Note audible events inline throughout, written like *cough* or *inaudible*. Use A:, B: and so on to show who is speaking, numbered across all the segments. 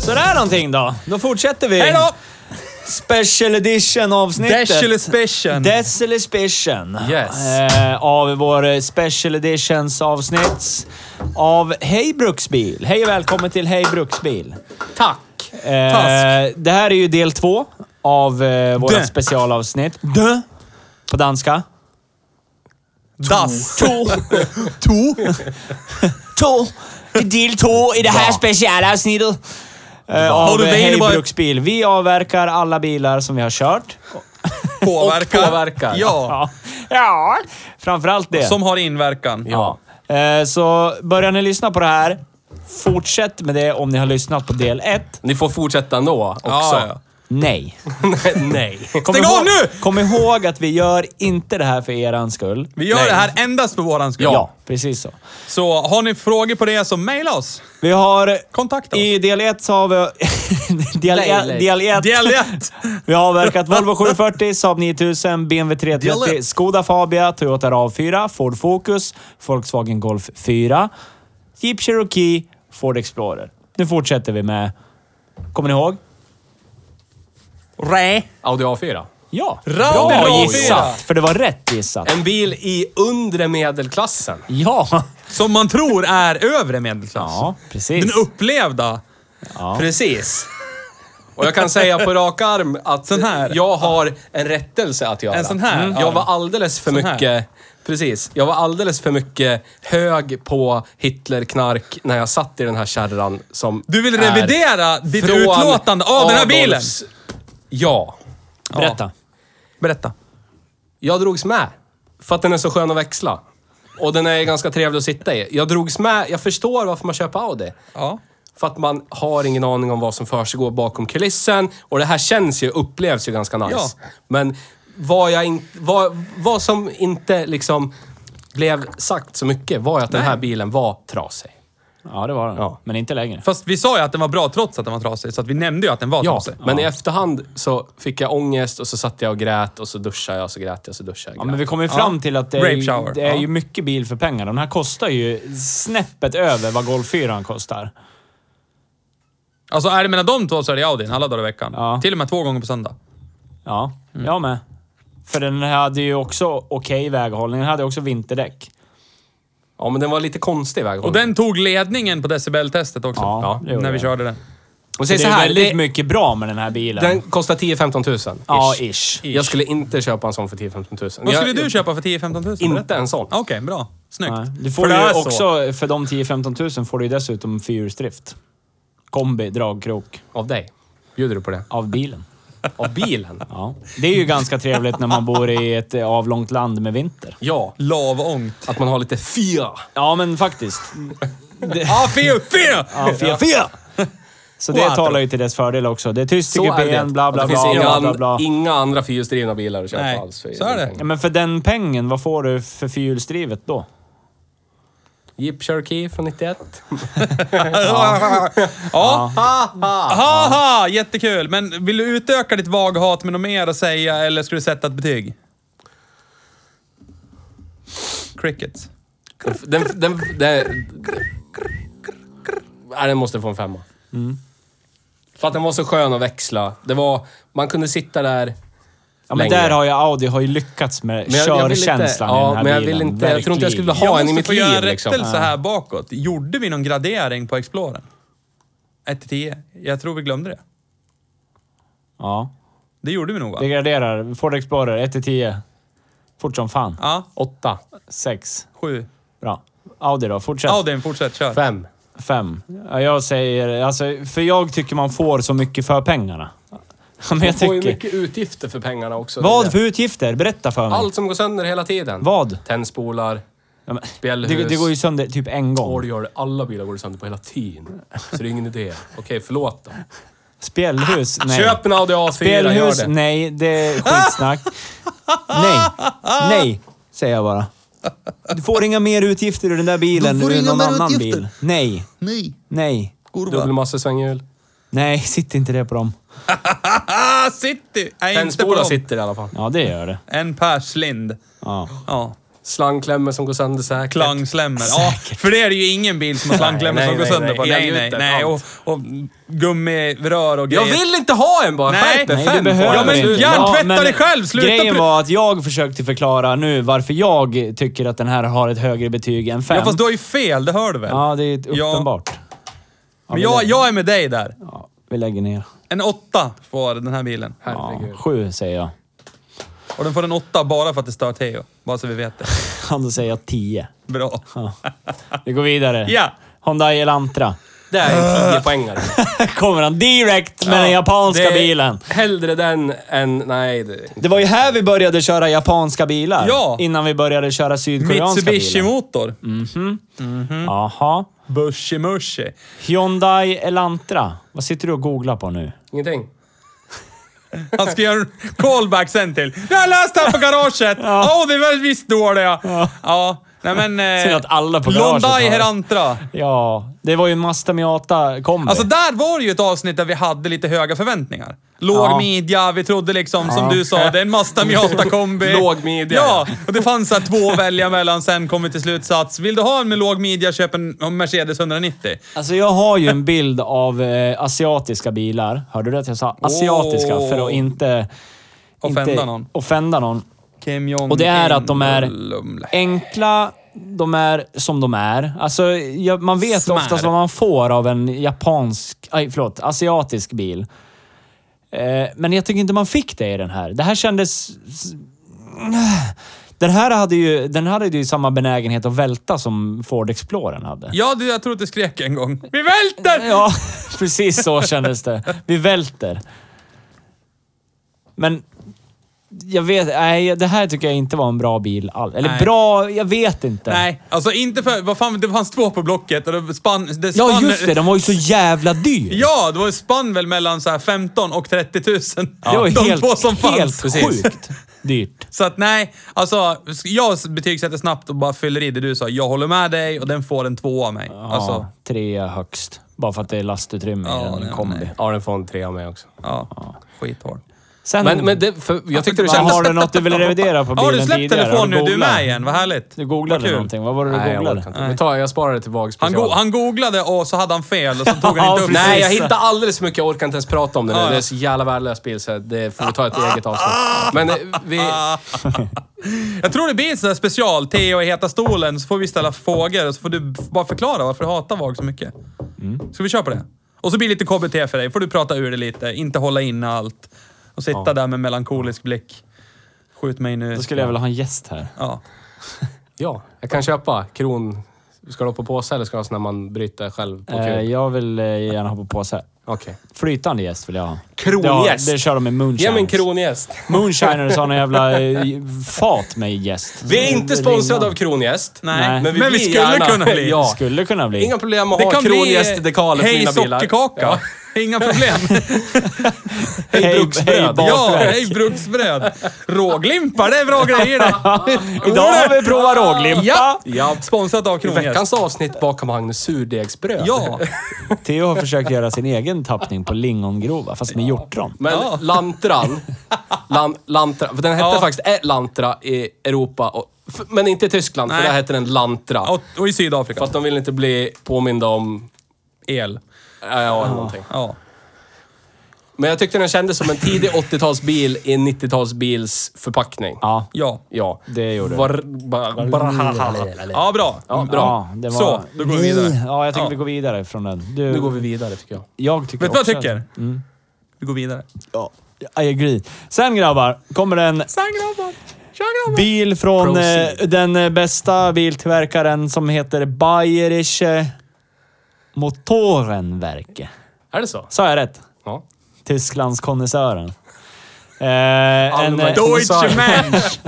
A: Sådär någonting då. Då fortsätter vi.
B: Hej då!
A: Special edition avsnittet.
B: Special special.
A: Special edition.
C: Yes.
A: Eh, av vår eh, special editions avsnitt av Hej Bruksbil. Hej och välkommen till Hej Bruksbil.
C: Tack!
A: Eh,
B: Task.
A: det här är ju del två av eh,
B: Dö.
A: vårt specialavsnitt. Dö. På danska.
B: Das. *laughs*
A: To. *laughs* to. Del två i det här specialavsnittet. Eh,
B: Har
A: av
B: du
A: Hej
B: Wienerberg?
A: Bruksbil. Vi avverkar alla bilar som vi har kört.
B: Påverkar.
C: Och påverkar.
B: Ja.
A: Ja, ja. framförallt det.
B: Som har inverkan.
A: Ja. Eh, Så börjar ni lyssna på det här, fortsätt med det om ni har lyssnat på del 1.
C: Ni får fortsätta ändå också.
B: Ja, ja.
A: Nej.
C: Nej.
A: Kom
B: Stäng av
A: ihåg,
B: nu!
A: Kom ihåg att vi gör inte det här för er skull.
B: Vi gör
C: Nej.
B: det här endast för våran skull.
A: Ja. precis så.
B: Så har ni frågor på det så mejla oss.
A: Vi har...
B: Kontakta oss.
A: I del 1 så har vi... *laughs* del,
C: Nej, nej.
A: del 1.
B: Dialekt!
A: Vi har avverkat Volvo 740, Saab 9000, BMW 330,
B: Dialekt.
A: Skoda Fabia, Toyota RAV4, Ford Focus, Volkswagen Golf 4, Jeep Cherokee, Ford Explorer. Nu fortsätter vi med... Kommer ni ihåg?
B: Rä.
C: *laughs* Audi A4.
A: Ja!
B: Rav
A: Bra
B: RAV4.
A: gissat! För det var rätt gissat.
C: En bil i undre medelklassen.
A: Ja!
B: Som man tror är övre medelklass.
A: Ja,
B: Den
A: precis.
B: upplevda.
C: Precis. Och jag kan säga på rak arm att
B: Sån här.
C: jag har en rättelse att göra.
B: En sån här
C: Mm.
B: arm.
C: Jag var alldeles för
B: Sån här.
C: mycket... Precis. Jag var alldeles för mycket hög på Hitlerknark när jag satt i den här kärran som
B: Du vill
C: är
B: revidera ditt
C: från
B: utlåtande av den här bilen.
C: Adolfs- Ja.
A: Berätta.
B: Berätta.
C: Jag drogs med. För att den är så skön att växla. Och den är ganska trevlig att sitta i. Jag drogs med. Jag förstår varför man köper Audi.
B: Ja.
C: För att man har ingen aning om vad som försiggår bakom kulissen. Och det här känns ju, upplevs ju ganska nice.
B: Ja.
C: Men vad, jag in, vad, vad som inte liksom blev sagt så mycket var ju att den här bilen var trasig.
A: Ja, det var den.
C: Ja.
A: Men inte längre.
B: Fast vi sa ju att den var bra trots att den var trasig, så att vi nämnde ju att den var
C: Ja,
B: trasig.
C: men i efterhand så fick jag ångest och så satt jag och grät och så duschade jag och så grät jag och så duschade jag.
A: Ja,
C: och
A: men
C: grät.
A: vi kommer ju fram
B: Ja.
A: till att det är,
B: Rape
A: ju,
B: shower.
A: det är
B: Ja.
A: ju mycket bil för pengar. Den här kostar ju snäppet över vad Golf 4 kostar.
B: Alltså är det mellan de två så är det Audin alla dagar i veckan.
A: Ja.
B: Till och med två gånger på söndag.
A: Ja, jag med. För den hade ju också okej väghållning. Den hade också vinterdäck.
C: Ja, men den var lite konstig väghållning.
B: Och den tog ledningen på decibeltestet också.
A: Ja, det gjorde
B: när vi
A: den.
B: körde den.
C: Och
A: Det
C: säg
A: är
C: så här,
A: väldigt
C: det,
A: mycket bra med den här bilen.
C: den kostar 10-15 tusen. ish.
A: ja, ish.
C: Jag skulle inte köpa en sån för 10-15 tusen.
B: Vad
C: jag,
B: skulle du köpa för 10-15 000?
C: Inte en sån.
B: Okej, bra. Snyggt.
A: Nej. Du
B: För
A: får
B: det
A: ju
B: är så.
A: också, för de 10-15 tusen får du ju dessutom fyrhjulsdrift. Kombi, dragkrok
C: Av dig. Bjuder du på det?
A: av bilen.
C: Av bilen?
A: Ja. Det är ju ganska trevligt när man bor i ett eh, avlångt land med vinter.
C: ja.
B: Lavångt.
C: Att man har lite fyra.
A: Ja, men faktiskt.
B: *laughs* Ja, fel, fel!
A: Ja, fyra, fyra. Så det
B: Quattro.
A: talar ju till dess fördel också. Det är tyst i
C: Så är det.
A: kupén, bla bla
C: det finns
A: bla,
C: inga,
A: bla
C: an-
A: bla bla.
C: inga andra fyrhjulsdrivna bilar att köpa
B: Nej,
C: alls. för
B: så är det.
A: Ja, men för den pengen, vad får du för fyrhjulsdrivet då?
C: Jeep Cherokee från 91.
B: Ja. Haha, jättekul. Men vill du utöka ditt vaghat med något mer att säga eller ska du sätta ett betyg? Crickets.
C: Den, den, den, den, Nej, den måste få en femma.
A: Mm.
C: För att den var så skön att växla. Det var... Man kunde sitta där...
A: Ja, men
C: längre.
A: där har ju Audi har ju lyckats med
C: Men jag- jag vill inte-
A: körkänslan i
C: ja,
A: den här
C: men jag
A: bilen.
C: vill inte- jag tror inte jag skulle vilja ha
B: jag
C: en i
B: måste
C: mitt
B: få göra en
C: liv, liksom.
B: rättelse här bakåt. Gjorde vi någon gradering på Exploren? 1 till 10? Jag tror vi glömde det.
A: Ja.
B: Det gjorde vi nog va?
A: Vi graderar. Ford Explorer 1-10. Fort som fan.
B: Ja,
C: Åtta.
A: Sex.
B: sju.
A: Bra. Audi då, fortsätt.
B: Audin, fortsätt. Kör.
C: Fem.
A: Fem. Ja, Jag säger... Alltså, för jag tycker man får så mycket för pengarna. Men jag
C: Man får ju
A: tycker...
C: mycket utgifter för pengarna också. Det är
A: Vad
C: det.
A: för utgifter? Berätta för mig.
C: Allt som går sönder hela tiden.
A: Vad?
C: Tändspolar,
A: Ja, men,
C: spjällhus.
A: det, det går ju sönder typ en
C: Åh, det
A: gång.
C: gör det. Alla bilar går det sönder på hela tiden. Så det är ingen idé. Okej, förlåt då.
A: Spjällhus? *laughs* Nej.
C: Ah, Köp en Audi A4, gör
A: Spelhus?
C: det.
A: Nej, det är skitsnack. nej, nej, säger jag bara. Du får inga mer utgifter ur den där bilen
D: Du får
A: ur
D: inga
A: någon
D: mer
A: annan
D: utgifter.
A: bil. Nej,
D: Nej,
A: nej,
D: kurva.
C: Dubbelmassesvänghjul.
A: nej, sitt inte det på dem.
B: Ah, City! Nej, inte på
C: Tändspolar
B: dem.
C: sitter i alla fall.
A: Ja, det gör det.
B: En perslind.
A: Ja.
B: Ja.
C: Slangklämmor som går sönder säkert.
B: Klangslämmer. Ja, för det är det ju ingen bil som har slangklämmor
C: Nej,
B: som
C: nej,
B: går
C: nej,
B: sönder på.
C: nej.
B: Nej, nej,
C: Elgjutet,
B: nej. Och,
C: allt.
B: och gummirör och
C: Jag
B: grejer.
C: vill inte ha en bara!
B: Nej,
C: Skärp dig,
B: nej,
A: Nej, du
C: fem får
A: behöver
C: jag.
B: Ja, men
A: inte.
B: hjärntvätta dig själv, sluta
A: Grejen
B: pry-
A: var att jag försökte förklara nu varför jag tycker att den här har ett högre betyg än fem.
B: Ja, fast du har ju fel, det hör du väl?
A: Ja, det är
B: Ja.
A: uppenbart. Ja,
B: Men
A: vi
B: jag,
A: lägger-
B: jag är med dig där.
A: Ja, vi lägger ner.
B: En åtta får den här bilen.
A: Ja,
C: Herregud.
A: sju säger jag. *laughs*
B: Och den får en åtta bara för att det stör Theo. Bara så vi vet det.
A: Han då säger jag tio.
B: Bra.
A: Ja. Vi går vidare.
B: Ja.
A: Hyundai Elantra. *laughs*
C: Det är en 10 poängare.
A: Här kommer han direkt med den japanska
C: Det är
A: bilen.
C: Hellre den än... Nej, det,
A: Det var ju här vi började köra japanska bilar.
B: Ja.
A: Innan vi började köra sydkoreanska bilar.
B: Mitsubishi-motor.
C: Mm.
B: Mm.
A: Jaha.
B: Bushy-mushy.
A: Hyundai Elantra. Vad sitter du och googlar på nu?
C: ingenting.
B: Han ska göra en callback sen till. Jag har läst här på garaget! Åh, det var visst dåliga! Ja. ja. Nej men... eh,
A: Synd att alla på garaget
B: Hyundai
A: har-
B: Herantra.
A: Ja, det var ju en Mazda Miata kombi.
B: Alltså där var det ju ett avsnitt där vi hade lite höga förväntningar. Låg
A: Ja.
B: midja, vi trodde liksom som du sa, det är en Mazda Miata
A: *laughs*
B: kombi.
C: Låg midja.
B: Ja, och det fanns så här två att välja mellan sen kom vi till slutsats. Vill du ha en med låg midja, köp en Mercedes 190.
A: Alltså jag har ju en bild av eh, asiatiska bilar. Hörde du att jag sa asiatiska
B: Åh.
A: för att inte...
B: Offenda
A: inte
B: någon.
A: Offenda någon.
B: Kim Jong
A: Och det är att de är
B: In och Lumle.
A: enkla, de är som de är. Alltså, ja, man vet
B: Smär.
A: oftast vad man får av en japansk, aj, förlåt, asiatisk bil. Eh, men jag tycker inte man fick det i den här. Det här kändes... *sighs* s- Den här hade ju, den hade ju samma benägenhet att välta som Ford Explorern hade.
B: Ja, du, jag tror att du skrek en gång. Vi välter!
A: Ja, *laughs* precis så kändes det. Vi välter. Men jag vet... Nej, det här tycker jag inte var en bra bil alls. Eller
B: Nej.
A: bra... Jag vet inte.
B: Nej, alltså inte för... Vad fan, det fanns två på Blocket och det spann... Det spann
A: Ja, just det. De var ju så jävla dyr.
B: Ja, det var ju spann väl mellan så här 15 och 30 000.
A: Det var ju
B: de
A: helt,
B: två som fanns.
A: helt sjukt dyrt.
B: Så att nej, alltså jag betygsätter snabbt och bara fyller i det du sa. Jag håller med dig och den får en tvåa av mig.
A: Ja,
B: Alltså,
A: tre högst. Bara för att det är lastutrymme
B: Ja,
A: i
B: nej,
A: en kombi.
B: nej.
C: Ja, den får en trea av mig också.
B: ja. Skithård.
A: Sen,
C: Men, men det, för, jag tyckte det
A: vad,
C: kändes...
A: har du något du vill revidera på bilen
B: Har du släppt
A: tidigare? Har
B: telefon nu? Du är
A: googlat?
B: med igen. Vad härligt.
A: Du
B: Vad
A: googlade
B: kul.
A: någonting. Vad var det du
C: Nej, jag
A: googlade?
C: orkar inte. Vi tar, jag sparar det till vag
B: Han, go han googlade och så hade han fel och så
A: *laughs*
B: tog han inte upp
A: Ja,
C: Nej,
B: Nej,
C: jag
A: Precis.
C: hittar alldeles för mycket. Jag orkar inte ens prata om det nu.
B: Ja, ja.
C: Det är så jävla värdelös bil så det får vi ta ett eget avsnitt. Men eh, vi...
B: *laughs* Jag tror det blir en sån där special. Theo i heta stolen. Så får vi ställa frågor och så får du f- bara förklara varför du hatar VAG så mycket.
A: Mm.
B: Ska vi köra på det? Och så blir det lite KBT för dig. får du prata ur det lite. Inte hålla inne allt. Och sitta där med melankolisk blick. Skjut mig nu.
A: Då skulle jag vilja ha en gäst här.
B: Ja.
C: Ja, jag kan köpa kron... Ska du ha på påse eller ska du ha sån där man bryter själv på kul?
A: Eh, jag vill eh, gärna ha på påse.
C: Okej.
A: Flytande gäst vill jag ha.
C: Krongäst.
A: Det, har- det kör de med
C: Ge mig en
A: moonshiners.
C: krongäst.
A: moonshiners har någon jävla eh, fat med gäst.
C: Vi är inte sponsrade av krongäst.
B: Nej.
A: Nej.
B: Men vi, skulle kunna bli.
C: Ja.
A: Skulle kunna bli.
C: Inga problem att ha krongästdekaler på
B: Hej
C: mina bilar.
B: sockerkaka. Inga
C: *laughs*
B: problem.
C: Hej,
A: Hej-
C: bruksbröd.
A: hej,
B: ja,
A: bakverk.
B: hej bruksbröd. Råglimpar, det är bra grejer det.
A: Idag har vi provat råglimpa.
B: Ja.
C: *laughs* Ja.
B: Sponsrat av Kronhäst.
C: Veckans avsnitt bakom Magnus surdegsbröd.
B: Ja.
A: Theo har försökt göra sin egen tappning på lingongrova, fast med hjortron.
C: *laughs* Men
B: Ja.
C: Lantran, lan, Lantra, för den hette
B: Ja.
C: faktiskt eh, Lantra i Europa, och, f- men inte i Tyskland,
B: Nej.
C: för där hette den Lantra.
B: Och, och i Sydafrika.
C: För att de ville inte bli påminda om...
B: El.
C: Ja, ja, eller någonting.
B: Ja.
C: Men jag tyckte den kändes som en tidig
A: *laughs*
C: 80-talsbil i en 90-talsbils förpackning.
A: Ja.
B: Ja.
C: Ja.
A: Det gjorde
C: Var, ba, bra.
B: Ja, bra.
C: Ja,
A: ja
C: bra.
A: Mm. det var...
B: Så, då går vi vidare.
A: Ja, jag tycker
B: Ja.
A: vi går vidare från den. Du,
C: Nu går vi vidare tycker jag.
A: Jag tycker
B: Vet du vad
A: också Mm.
B: jag tycker? Vi går vidare.
A: Att, ja, I agree. Sen grabbar, kommer en
B: Sen grabbar.
A: Bil från eh,
C: Proceed.
A: den eh, bästa biltillverkaren som heter Bayerische Motorenwerke.
C: Är det så?
A: Sa jag rätt?
C: Ja.
A: Tysklandskonnässören. Eh, en, eh,
C: Allmän konnässör.
B: Mensch!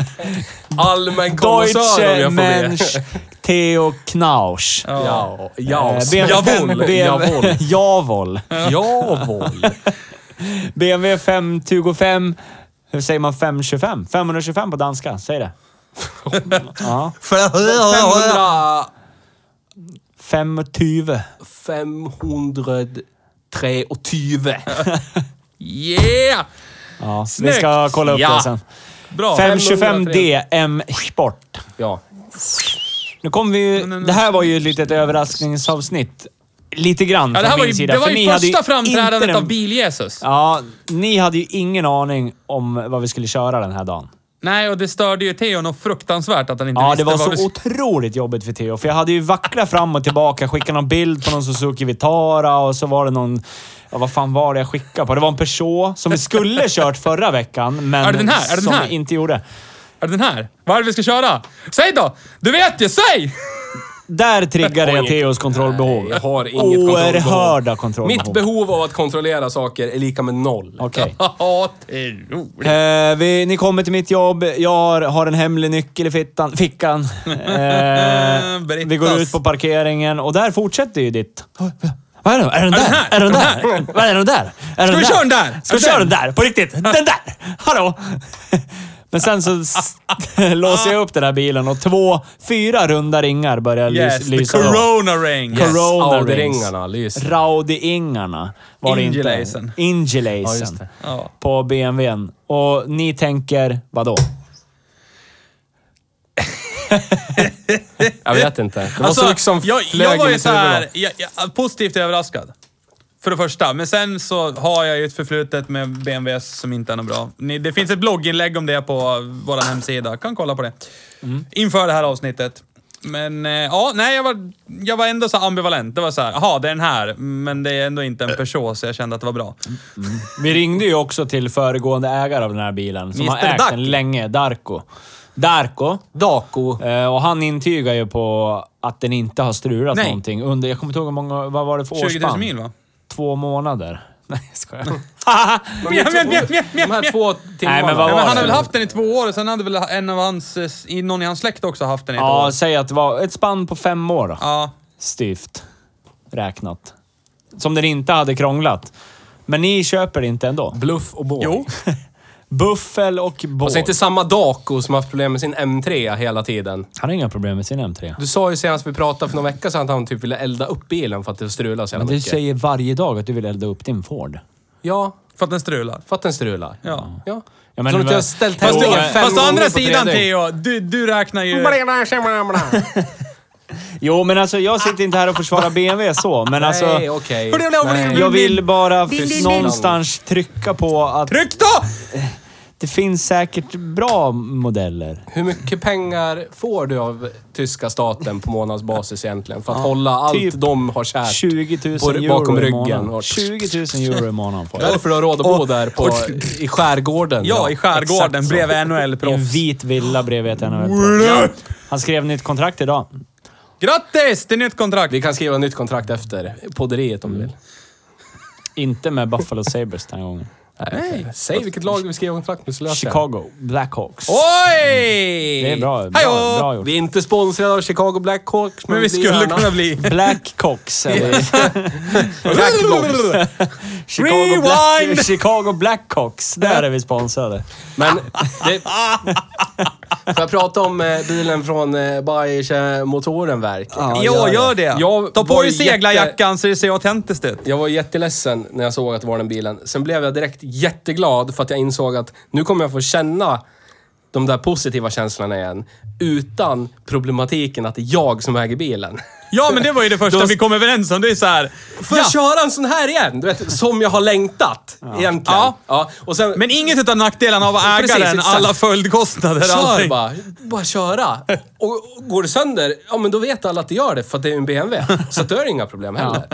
C: Allmän konnässör
A: Deutsche
C: om jag får be.
A: Mensch Theo Knausch.
C: Ja,
A: Eh,
C: ja,
A: BMW
C: jawohl,
A: *laughs* Javol.
C: jawohl,
A: *laughs*
C: jawohl.
A: BMW 525. Hur säger man 525? 525 på danska.
B: *laughs*
A: Säg det. ja.
C: 500...
A: 520.
C: 523. Yeah!
A: Ja, vi
B: Snyggt!
A: ska kolla upp
C: Ja.
A: det sen.
B: Bra.
A: 525D M Sport.
C: Ja.
A: Nu kom vi ju, det här var ju ett litet överraskningsavsnitt. Lite grann
B: Ja, det här
A: från
B: var
A: min
B: ju,
A: sida.
B: det var
A: för ni
B: ju
A: hade
B: första
A: inte
B: framträdandet
A: den-
B: av Bil-Jesus.
A: Ja, ni hade ju ingen aning om vad vi skulle köra den här dagen.
B: Nej, och det störde ju Theo något fruktansvärt att han inte
A: Ja,
B: visste
A: det var
B: vad
A: så
B: vi...
A: otroligt jobbigt för Theo. För jag hade ju vacklat fram och tillbaka, skickat någon bild på någon Suzuki Vitara och så var det någon... Ja, vad fan var det jag skickade på? Det var en Peugeot som vi skulle kört förra veckan, men
B: Är det den här? Är det den
A: som
B: här?
A: vi inte gjorde.
B: Är det den här? Vad är det vi ska köra? Säg då! Du vet ju, säg!
A: Där triggade jag Theos kontrollbehov.
C: Jag har inget
A: Oerhörda kontrollbehov.
C: Mitt behov av att kontrollera saker är lika med noll.
A: Okej.
B: *laughs* Ja, Theo.
A: Eh, vi, ni kommer till mitt jobb, jag har, har en hemlig nyckel i fittan, fickan. Eh,
B: *laughs* Berättas.
A: vi går ut på parkeringen och där fortsätter ju ditt... Vad är det? Är den där? Är den där? Vad är den där? Är
B: vi köra den där?
A: Ska vi
B: Är den?
A: köra den där? På riktigt? Den där! Hallå? *laughs* Men sen så s- *laughs* låser jag upp den här bilen och två, fyra runda ringar börjar
B: Yes,
A: lys,
B: the
A: lysa. då.
B: corona ring.
A: Yes. Corona rings.
C: Audi-ringarna lyser.
A: Raudi-ingarna var det inte.
B: Ingelaisen.
A: Ingelaisen.
C: Ja, just det.
B: Ja.
A: På BMWn. Och ni tänker, vadå?
C: Jag vet inte. Det var så
B: Alltså,
C: mycket som
B: jag,
C: flög
B: jag var
C: i
B: ju
C: mitt
B: så
C: huvud
B: här,
C: då.
B: jag, jag, positivt överraskad. För det första. Men sen så har jag ju ett förflutet med BMWs som inte är något bra. Ni, det finns ett blogginlägg om det på vår hemsida. Kan kolla på det.
C: Mm.
B: Inför det här avsnittet. Men eh, ja, nej jag var, jag var ändå så här ambivalent. Det var så här, jaha det är den här, men det är ändå inte en Peugeot så jag kände att det var bra.
A: Vi ringde ju också till föregående ägare av den här bilen, som
B: Mr.
A: har ägt
B: Darko.
A: den länge, Darko. Darko.
C: Dako.
A: Eh, Och han intygar ju på att den inte har strulat
B: Nej.
A: någonting under, jag kommer inte ihåg hur många, vad var det för
B: 20 000
A: årsspann?
B: mil va?
A: Två månader. *laughs* Nej,
B: *laughs*
A: jag skojar.
C: De här
B: Mjau, mjau, mjau, mjau,
C: två- de här två timmarna.
A: Nej, men vad
B: Nej,
A: var
B: men han
A: det?
B: har väl haft den i två år och sen hade väl en av hans, eh, s- i- någon i hans släkt också haft den i ett
A: ja,
B: år.
A: säg att det var ett spann på fem år då.
B: Ja.
A: styvt räknat. Som den inte hade krånglat. Men ni köper det inte ändå.
C: Bluff och båg.
B: Jo.
A: Buffel och båt.
C: Och så inte samma Dako som haft problem med sin M3 hela tiden.
A: Han har inga problem med sin M3.
C: Du sa ju senast vi pratade för någon vecka sedan att han typ ville elda upp bilen för att det strulade så jävla
A: Men du
C: mycket.
A: säger varje dag att du vill elda upp din Ford.
C: Ja,
B: För att den strular.
C: för att den strular. *laughs*
B: Ja.
C: ja.
A: Ja, men
C: Tror du
A: vad-
C: inte jag har ställt
A: Fast
B: Fast,
A: det-
B: du,
C: frågan
A: fast
C: fem
B: fast å
C: gånger
B: andra
C: på tre
B: sidan
C: dygn?
B: Theo, du, du räknar ju...
A: Jo, men alltså jag sitter inte här och
C: *laughs*
A: försvarar BMW så, men alltså...
C: Nej, okej. Nej.
A: Jag vill bara
C: din, din.
A: någonstans trycka på att
B: Tryck då!
A: det finns säkert bra modeller.
C: Hur mycket pengar får du av tyska staten på månadsbasis egentligen? För att hålla allt
A: typ
C: de har kärt
A: 20 000
C: på-
A: euro
C: bakom
A: i
C: ryggen.
A: månaden.
C: Och
A: 20 000 euro i månaden får jag.
C: därför du har råd att bo där på,
B: och-
C: i skärgården.
B: Ja, i
A: exakt
B: skärgården
A: så.
B: bredvid
A: I en
B: NHL-proffs.
A: vit villa bredvid ett NHL-proffs. Han skrev nytt kontrakt idag.
B: Grattis till nytt kontrakt!
C: Vi kan skriva nytt kontrakt efter podderiet om du vill.
A: Inte med Buffalo Sabres den här gången.
C: Nej. Säg vilket lag vi skriver kontrakt med så löser jag det.
A: Chicago Blackhawks.
B: Oj!
A: Det är bra, bra,
B: Hajå!
A: bra gjort.
C: Vi är inte sponsrade av Chicago Blackhawks, men,
B: Men vi skulle kunna
C: *laughs*
B: bli...
A: Blackhawks. eller Chicago,
B: Rewind!
A: Black, Chicago Blackhawks. Där är vi sponsrade.
C: Men det... *laughs* Får jag prata om eh, bilen från eh, Bayerische Motorenwerk?
A: Ja,
B: Ja, gör det.
C: Jag
B: Ta på
C: var
B: dig
C: jätte-
B: seglarjackan så det ser autentiskt ut.
C: Jag var jätteledsen när jag såg att det var den bilen. Sen blev jag direkt jätteglad för att jag insåg att nu kommer jag få känna de där positiva känslorna igen. Utan problematiken att det är jag som äger bilen.
B: Ja, men det var ju det första
C: Då-
B: vi kom överens om. Det är så här...
C: Får jag köra en sån här igen? Du vet, som jag har längtat egentligen.
B: Ja.
C: Och sen,
B: Men inget utav nackdelarna av att äga
C: Precis,
B: den,
C: exakt.
B: alla följdkostnader,
C: Kör
B: allting.
C: bara. Bara köra. Och och går det sönder, ja men då vet alla att det gör det för att det är en BMW. Så att då är det inga problem heller.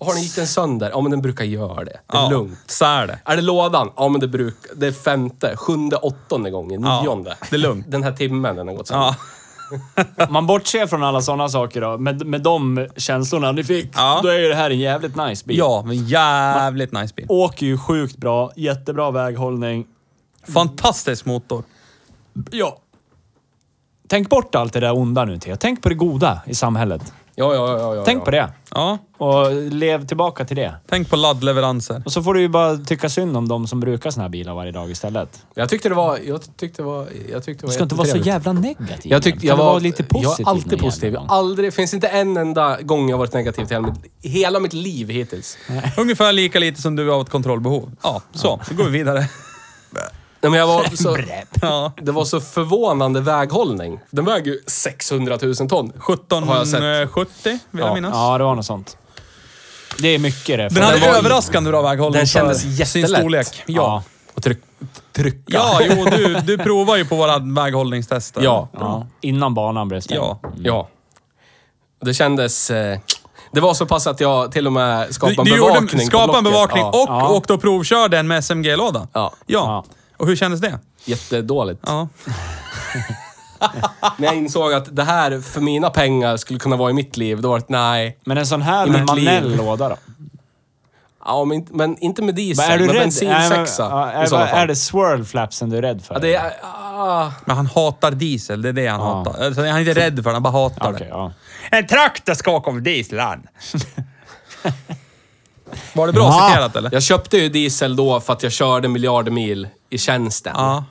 C: har den gick den sönder? Ja, men den brukar göra det. Det är
B: Ja,
C: lugnt.
B: Så är det.
C: Är det lådan? Ja, men det brukar... Det är femte, sjunde, åttonde gången,
B: Ja,
C: nionde.
B: det är lugnt.
C: Den här timmen den har gått sönder.
B: Ja.
A: Man bortser från alla sådana saker då, med, med de känslorna ni fick,
B: Ja.
A: då är ju det här en jävligt nice bil.
B: ja, men jävligt nice bil.
A: Åker ju sjukt bra, jättebra väghållning.
B: Fantastisk motor.
A: Ja. Tänk bort allt det där onda nu, Theo. Tänk på det goda i samhället.
C: Ja, ja, ja. ja, ja.
A: Tänk på det.
B: Ja,
A: Och lev tillbaka till det.
B: tänk på laddleveranser.
A: Och så får du ju bara tycka synd om de som brukar såna här bilar varje dag istället.
C: Jag tyckte det var... Jag tyckte det var... Jag tyckte det var
A: Du ska inte vara så
C: jättetrevligt.
A: jävla negativ.
C: Jag tyckte
A: Kan
C: jag
A: du
C: var,
A: vara lite positiv.
C: Jag är
A: någon
C: alltid
A: jävla
C: positiv. Jag
A: gång?
C: har aldrig, finns inte en enda gång jag har varit negativ till hela mitt, hela mitt liv hittills.
B: Ungefär lika lite som du har ett kontrollbehov. Ja, så. Då går vi
C: *laughs*
B: vidare.
C: Nej, men jag var så,
B: Ja.
C: det var så förvånande väghållning. Den väger ju 600 000 ton. Har jag sett.
B: 1770 vill jag
C: Ja.
B: minnas.
A: Ja, det var något sånt. Det är mycket det.
B: Den hade
C: var-
B: överraskande bra väghållning
C: Den kändes
B: för sin
C: jättelätt.
B: storlek. Ja.
A: Ja.
C: Och tryck, trycka.
B: Ja, jo, *laughs*
C: *laughs*
B: du, du provar ju på våra väghållningstester.
C: Ja.
A: ja. Innan banan blev stängd.
B: Ja.
C: Ja. Det kändes... Eh, det var så pass att jag till och med
B: Du,
C: skapade
B: du
C: en
B: gjorde-
C: bevakning. på
B: skapade en
C: blocket.
B: bevakning
C: Ja.
B: och
A: Ja.
B: åkte och provkörde den med SMG-låda.
C: Ja.
B: ja. Och hur kändes det?
C: Jättedåligt. *laughs*
B: Ja.
C: När jag insåg att det här för mina pengar skulle kunna vara i mitt liv, då var det ett nej.
A: Men en sån här
C: I
A: med
C: mitt liv.
A: manuell låda då?
C: Ja, men, inte- men inte med diesel,
A: Vad är du
C: men
A: rädd?
C: bensinsexa
A: Nej, men, ja,
C: i
A: är,
C: sådana
A: vad-
C: fall.
A: är det swirl flapsen du är rädd för?
C: Ja, det är... Ah,
B: Men han hatar diesel, det är det han hatar. Alltså, han är inte rädd för det, han bara hatar
A: Okej,
B: det.
A: ja.
B: En traktor ska åka om dieseln. Var det bra
A: Ja.
B: citerat eller?
C: jag köpte ju diesel då för att jag körde miljarder mil i tjänsten.
B: Ja.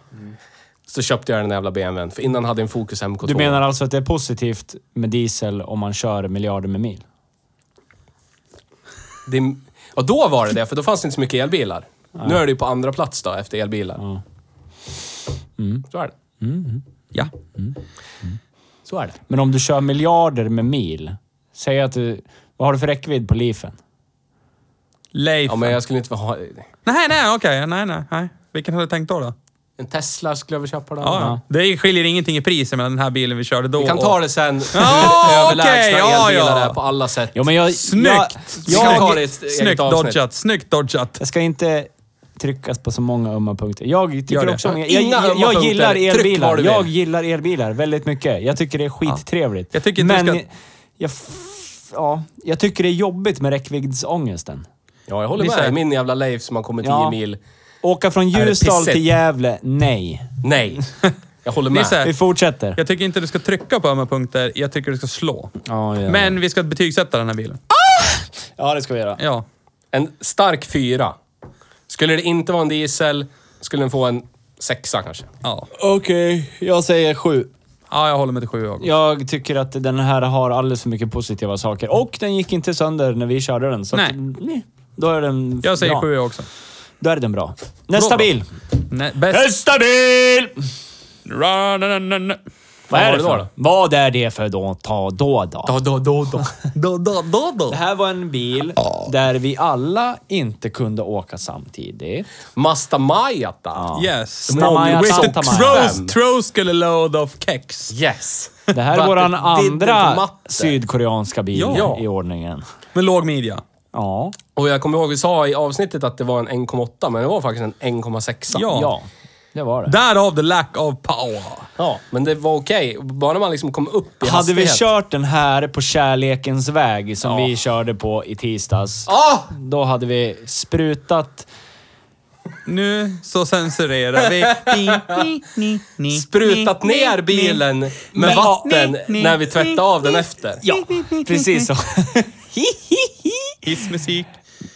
C: Så köpte jag den jävla BMWn, för innan hade jag en Focus MK2.
A: Du menar alltså att det är positivt med diesel om man kör miljarder med mil?
C: Det, ja, då var det det, för då fanns det inte så mycket elbilar. Nu är det ju på andra plats då, efter elbilar.
B: Mm.
C: Så är det.
B: ja.
C: Så är det.
A: Men om du kör miljarder med mil, säg att du... Vad har du för räckvidd på Leafen?
B: Leif.
C: Ja, men jag skulle inte vilja ha...
B: Nej, nej, okej. Nej, nej, nej. Vilken hade du tänkt då? då?
C: En Tesla skulle jag väl köpa då.
B: Ja, ja. Det skiljer ingenting i pris mellan den här bilen vi körde då
C: Vi kan
B: och-
C: ta det sen.
B: *laughs* Ja,
C: *laughs* Överlägsna
B: okej, ja,
C: elbilar
B: ja.
C: är på alla sätt.
A: Jo, men jag,
B: Snyggt!
C: Vi kan ta det i ett eget
B: Snyggt
C: avsnitt.
B: dodgat. Snyggt dodgat.
A: Jag ska inte tryckas på så många ömma punkter. Jag
B: Gör
A: tycker
B: det.
A: också om... Jag,
C: Inga
A: jag,
C: ömma
A: jag
C: punkter.
A: gillar
C: Tryck var
A: elbilar.
C: du
A: Jag
C: vill.
A: gillar elbilar väldigt mycket. Jag tycker det är skittrevligt.
B: Jag tycker inte
A: Men...
B: du ska-
A: Jag, jag, f- ja, jag tycker det är jobbigt med räckviddsångesten.
C: Ja, jag håller
B: Ni
C: med.
B: säger-
C: Min jävla Leif som har kommit 10
A: Ja.
C: mil.
A: Åka från
C: det
A: Ljusdal
C: pissigt?
A: till Gävle? Nej.
C: Nej. Jag håller med.
B: Nisse.
A: Vi fortsätter.
B: Jag tycker inte du ska trycka på ömma punkter. Jag tycker du ska slå.
A: Ja, ja.
B: Men vi ska betygsätta den här bilen.
A: ja, det ska vi göra.
B: Ja.
C: En stark fyra. Skulle det inte vara en diesel, skulle den få en sexa kanske.
B: Ja.
A: Okej, jag säger sju.
B: ja, jag håller med till sju jag.
A: Jag tycker att den här har alldeles för mycket positiva saker. Och den gick inte sönder när vi körde den. Så
B: Nej.
A: Att, nej. Då är den
B: Jag säger
A: bra.
B: sju jag också.
A: Då är den bra. Nästa
C: Bra, bra.
A: bil!
B: Nej, bäst...
A: Nästa bil!
B: Ra-na-na-na-na.
A: Vad
C: var
A: är det
C: det
A: för?
C: då då?
A: Vad är det för då? Ta då då?
C: då, då, *laughs* då.
B: Då, då, då, då.
A: Det här var en bil där vi alla inte kunde åka samtidigt.
C: Masta Majata.
B: Yes.
A: Stamaya
B: With the
A: Santamaya.
B: tros- Troskele load of kex.
C: Yes.
A: Det här är
C: But
A: våran
C: it didn't
A: andra
C: matter.
A: sydkoreanska bil
B: Ja.
A: i ordningen.
B: Med låg midja.
A: Ja.
C: Och jag kommer ihåg vi sa i avsnittet att det var en 1,8, men det var faktiskt en 1,6.
B: Ja.
A: Ja, det var det.
B: Därav the lack of power.
C: ja. Men det var okej. Bara man liksom kom upp i
A: Hade vi
C: hastighet.
A: kört den här på kärlekens väg som vi körde på i tisdags,
C: Ah!
A: då hade vi sprutat...
C: *laughs*
B: Nu så censurerar vi.
C: Sprutat ner bilen med
A: ni-
C: vatten
B: ni-
C: när vi tvättade av den efter.
A: Ja, precis så.
B: Hissmusik.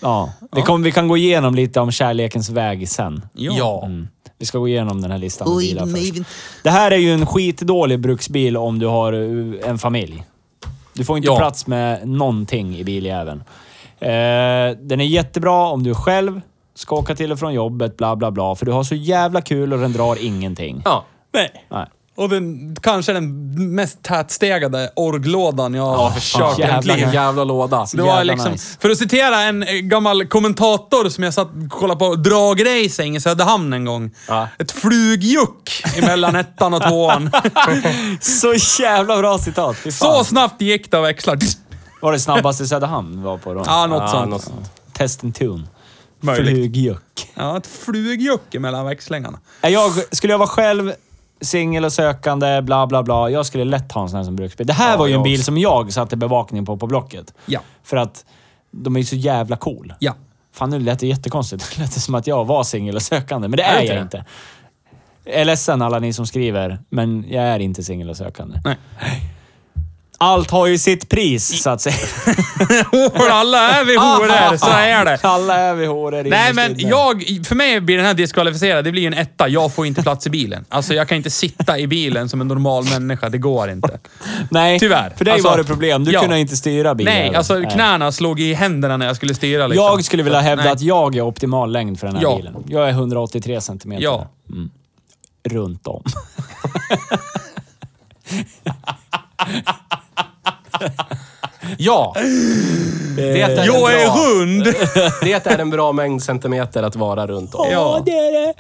A: ja, det kom, vi kan gå igenom lite om kärlekens väg sen.
B: Ja.
C: Ja.
A: Mm. Vi ska gå igenom den här listan med bilar först. Det här är ju en skitdålig bruksbil om du har eh, en familj. Du får inte
C: Ja.
A: plats med någonting i biljäveln. Eh, den är jättebra om du själv ska åka till och från jobbet, bla bla bla. För du har så jävla kul och den drar ingenting.
C: ja.
B: Nej.
A: Nej.
B: Och den, kanske den mest tätstegade orglådan jag har kört i mitt
A: Jävlar.
B: liv.
C: Vilken jävla låda.
B: Det var
A: Jävla
B: liksom,
A: nice.
B: För att citera en eh, gammal kommentator som jag satt och kollade på dragracing i Söderhamn en gång.
C: Ja.
B: Ett flugjuck emellan ettan och tvåan.
A: Så jävla bra citat. Fy fan.
B: Så snabbt gick det att växla.
A: Var det snabbaste Söderhamn var på då?
B: Ja, något sånt.
C: något sånt.
A: Test and tune.
B: Möjligt.
A: Flugjuck.
B: Ja, ett flugjuck mellan växlingarna.
A: Nej, Jag, skulle jag vara själv, singel och sökande, bla bla bla. Jag skulle lätt ha en sån här som bruksbil. Det här
C: Ja,
A: var ju en
C: jag
A: bil
C: också.
A: som jag satte bevakning på på Blocket.
B: Ja.
A: För att de är ju så jävla cool.
B: Ja. *laughs*
A: Fan, nu lät det jättekonstigt. Det lät som att jag var singel och sökande, men det är,
C: det
A: jag
C: det?
A: inte. Jag är ledsen alla ni som skriver, men jag är inte singel och sökande.
B: Nej.
A: Allt har ju sitt pris, så att säga.
B: För alla är vi
A: *laughs*
B: horor, så är det.
A: Alla är vi horor
B: Nej
A: innerst
B: men
A: inne.
B: jag, för mig blir den här diskvalificerad. Det blir ju en etta. Jag får inte plats i bilen. Alltså jag kan inte sitta i bilen som en normal människa. Det går inte.
A: *laughs* Nej,
B: Tyvärr.
A: För dig
B: Alltså,
A: var det problem. Du
B: ja.
A: kunde inte styra bilen.
B: Nej, alltså
A: Nej.
B: knäna slog i händerna när jag skulle styra liksom.
A: Jag skulle vilja hävda
B: Nej.
A: att jag är optimal längd för den här
B: Ja.
A: bilen. Jag är 183 centimeter.
B: Ja.
A: Runt om.
C: Ja! Det är en
B: Jag är
C: bra-
B: rund!
C: Det är en bra mängd centimeter att vara runt om.
B: *laughs* Ja.
A: det är det.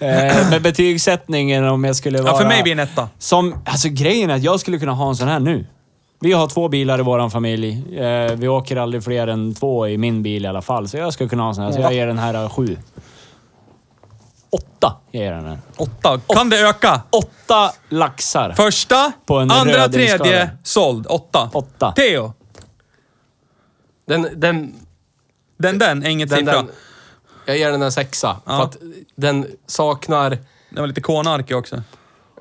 A: Eh, men betygssättningen om jag skulle vara...
B: Ja, för mig blir det en etta.
A: Som, alltså grejen är att jag skulle kunna ha en sån här nu. Vi har två bilar i vår familj. Eh, vi åker aldrig fler än två i min bil i alla fall. Så jag skulle kunna ha en sån här. Så jag ger den här eh, sju. Åtta ger jag den här.
B: Åtta. Kan det öka?
A: Åtta laxar.
B: Första,
A: På en
B: andra,
A: röd
B: tredje,
A: inskala.
B: såld. Åtta.
A: Åtta.
B: Theo.
C: Den, den,
B: Den, den. är Inget
C: den,
B: siffra.
C: den, jag ger den en sexa. För att den saknar...
B: Den var lite konarkig också.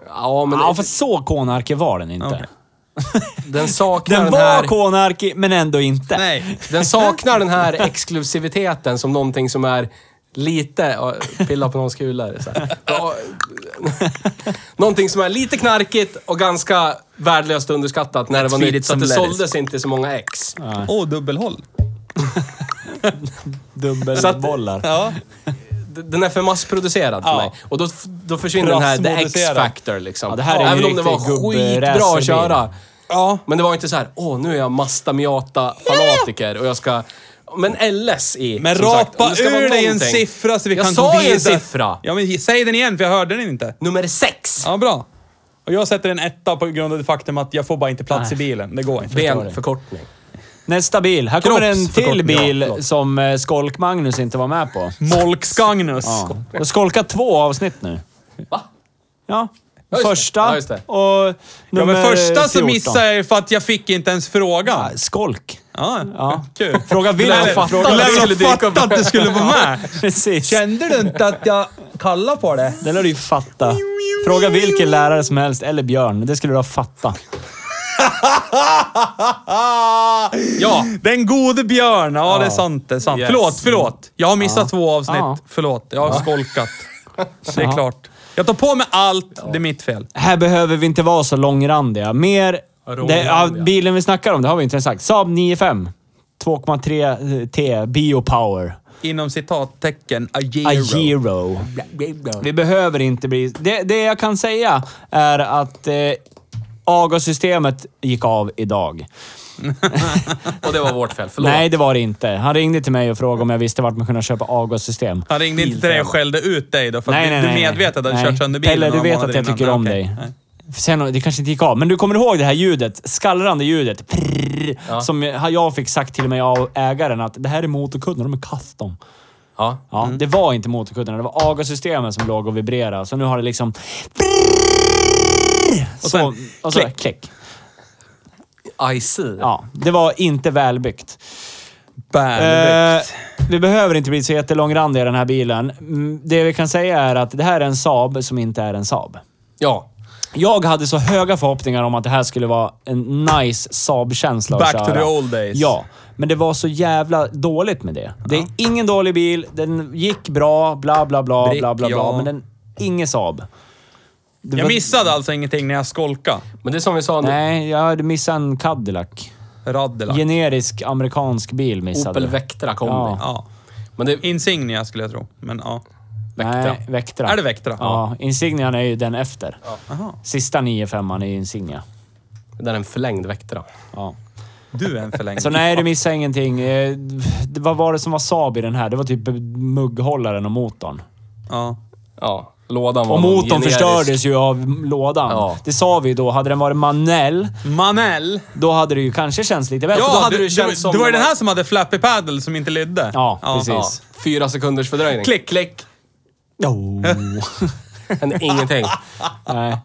C: Ja, men
A: Ja, för så konarkig var den inte.
B: Okej.
C: den saknar
A: Den,
C: den,
A: var
C: här...
A: konarkig, men ändå inte.
B: Nej.
C: Den saknar den här exklusiviteten som någonting som är lite... ja, Pilla på någons kulor. Så här. Ja, någonting som är lite knarkigt och ganska värdelöst underskattat när det var
B: Smidigt
C: nytt. Så
B: som
C: att det
B: lettuce.
C: såldes inte så många ex.
B: Åh, oh, dubbelhåll.
A: Dubbelbollar.
B: Ja.
C: D- Den är för massproducerad för
B: Ja.
C: mig. Och då, då försvinner den här the
B: Massproducerad.
C: X-factor liksom.
A: Ja, det här är ju
C: Även om det
A: riktig
C: var
A: gubbe-
C: skitbra att köra.
B: Ja.
C: Men det var inte så här, åh nu är jag mastamiata-fanatiker och jag ska... Men LS i...
B: Men
C: som sagt, om
B: rapa
C: det ska vara
B: ur dig en
C: någonting-
B: siffra så vi
C: jag
B: kan
C: sa
B: gå
C: ju
B: vidare.
C: en siffra!
B: Ja, men säg den igen för jag hörde den inte.
C: Nummer sex!
B: Ja, bra. Och jag sätter en etta på grund av det faktum att jag får bara inte plats i bilen. Det går inte.
C: Benförkortning.
A: Nästa bil. Här kommer en till
B: Kroppsförkortning.
A: bil
B: Ja, förlåt.
A: som eh, Skolk-Magnus inte var med på.
B: Molkskagnus.
A: Ja. Jag har skolkat två avsnitt nu.
C: Va?
A: Ja.
C: Ja, just det.
A: Första
C: Ja, just det.
A: och
B: Ja,
A: nummer
B: men första så
A: 14.
B: missade jag ju för att jag fick inte ens frågan.
A: Skolk. *laughs*
B: Ja,
A: Ja.
B: kul.
A: Fråga vill
B: Lär-
A: jag fatta.
B: fråga- lär-
C: skulle dyka upp.
B: fatta att det skulle vara
A: *laughs*
B: med.
A: Precis.
B: Kände du inte att jag kallade på det?
A: Det lär du ju fatta. Fråga vilken lärare som helst, eller Björn. Det skulle du ha fattat.
B: ja. Den gode Björn. Ja, det är sant. Det är sant.
C: Yes.
B: Förlåt, förlåt. Jag har missat två avsnitt.
A: Ja.
B: Förlåt, jag har
A: *laughs*
B: skolkat. Det är klart. Jag tar på mig allt. Det är mitt fel.
A: Här behöver vi inte vara så långrandiga. Mer... Det, ja,
C: Långrandiga.
A: bilen vi snackar om, det har vi inte ens sagt. Saab 9-5. 2,3 eh, T biopower.
B: Inom citattecken, a
A: A
B: year.
A: Giro. Vi behöver inte bli... Det, det jag kan säga är att eh, AGA-systemet gick av idag.
C: Och det var vårt fel, förlåt.
A: Nej, det var det inte. Han ringde till mig och frågade om jag visste vart man kunde köpa AGA-system.
B: Han ringde inte till dig och skällde ut dig då, för att
A: Nej,
B: du-
A: nej,
B: du
A: nej, nej.
B: medvetet hade
A: Nej.
B: kört sönder bilen
A: Pelle, du
B: några
A: vet
B: månader
A: att jag
B: innan.
A: tycker
B: Bra,
A: om
B: okej.
A: dig. Sen, det kanske inte gick av, men du kommer ihåg det här ljudet? Skallrande ljudet. Prrr, Som jag jag fick sagt till mig av ägaren att det här är motorkuddar, de är custom.
C: Ja.
A: Ja,
B: Mm.
A: Det var inte motorkuddarna, det var AGA-systemen som låg och vibrerade. Så nu har det liksom... Och
B: sen
A: så, och så,
B: klick.
A: klick.
C: I see.
A: Ja, det var inte välbyggt.
B: Bam.
A: Eh, vi behöver inte bli så jättelångrandiga i den här bilen. Mm, Det vi kan säga är att det här är en Saab som inte är en Saab.
C: Ja.
A: Jag hade så höga förhoppningar om att det här skulle vara en nice Saab-känsla att
B: Back
A: köra.
B: to the old days.
A: Ja, men det var så jävla dåligt med det. Det är ingen dålig bil, den gick bra, bla bla bla,
B: Brick,
A: bla bla bla,
B: ja.
A: men den... Ingen Saab. Det
B: Jag
A: var-
B: missade alltså ingenting när jag skolkade.
C: Men det är som vi sa nu.
A: Nej, jag hade missat en Cadillac.
B: Raddelak.
A: Generisk amerikansk bil missade
C: Opel Vectra kombi.
A: Ja.
B: Ja.
C: Men det...
B: Insignia skulle jag tro, men ja.
C: Vectra.
A: Nej, Vectra.
B: Är det Vectra?
A: Ja, Insignian är ju den efter.
B: Aha.
A: Sista 9-5 är ju Insignia.
C: Den är en förlängd Vectra.
A: Ja.
B: Du är en förlängning.
A: Så nej, du missar ingenting. Eh, Det, vad var det som var Saab i den här? Det var typ mugghållaren och motorn.
B: Ja.
C: Ja. Lådan var
A: Och
C: någon
A: motorn
C: generisk-
A: förstördes ju av lådan.
C: Ja.
A: Det sa vi ju då. Hade den varit manuell,
B: Manell.
A: då hade det ju kanske känts lite bättre.
C: Ja,
A: Alltså, då
B: Ja,
A: hade
B: du,
C: det
B: du,
C: känts som
B: det var ju
C: när
B: den
C: man-
B: här som hade flappy paddle som inte lydde.
A: Ja, precis.
C: Ja, fyra sekunders fördröjning.
B: Klick, klick.
A: Oh.
C: Hände ingenting.
A: *laughs* Nej.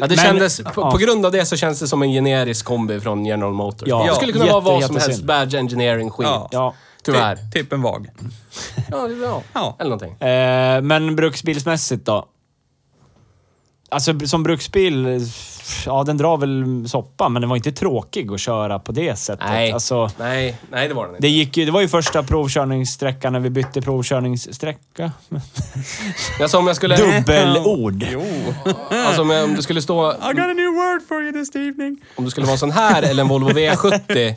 C: Ja, det
A: Men-
C: kändes, på,
A: ja.
C: på grund av det så känns det som en generisk kombi från General Motors.
A: Ja.
C: Det skulle kunna
A: Jätte,
C: vara vad som helst
A: jättesynd.
C: badge engineering-skit.
B: Ja.
A: Ja.
C: Tyvärr.
B: Ti- Tippen Typ, vag.
C: Ja, det är bra.
B: Ja.
C: Eller någonting.
A: Eh, men bruksbilsmässigt då? Alltså som bruksbil, eh, ja den drar väl soppa, men den var inte tråkig att köra på det sättet.
C: Nej.
A: Alltså,
C: nej, nej, det var den inte.
A: det, gick ju, det var ju första provkörningssträckan när vi bytte provkörningssträcka.
C: Jag sa Alltså, om jag skulle...
A: Dubbelord.
B: Jo.
C: Alltså om, jag, om du skulle stå...
B: I got a new word for you this evening.
C: Om du skulle vara en sån här eller en Volvo V70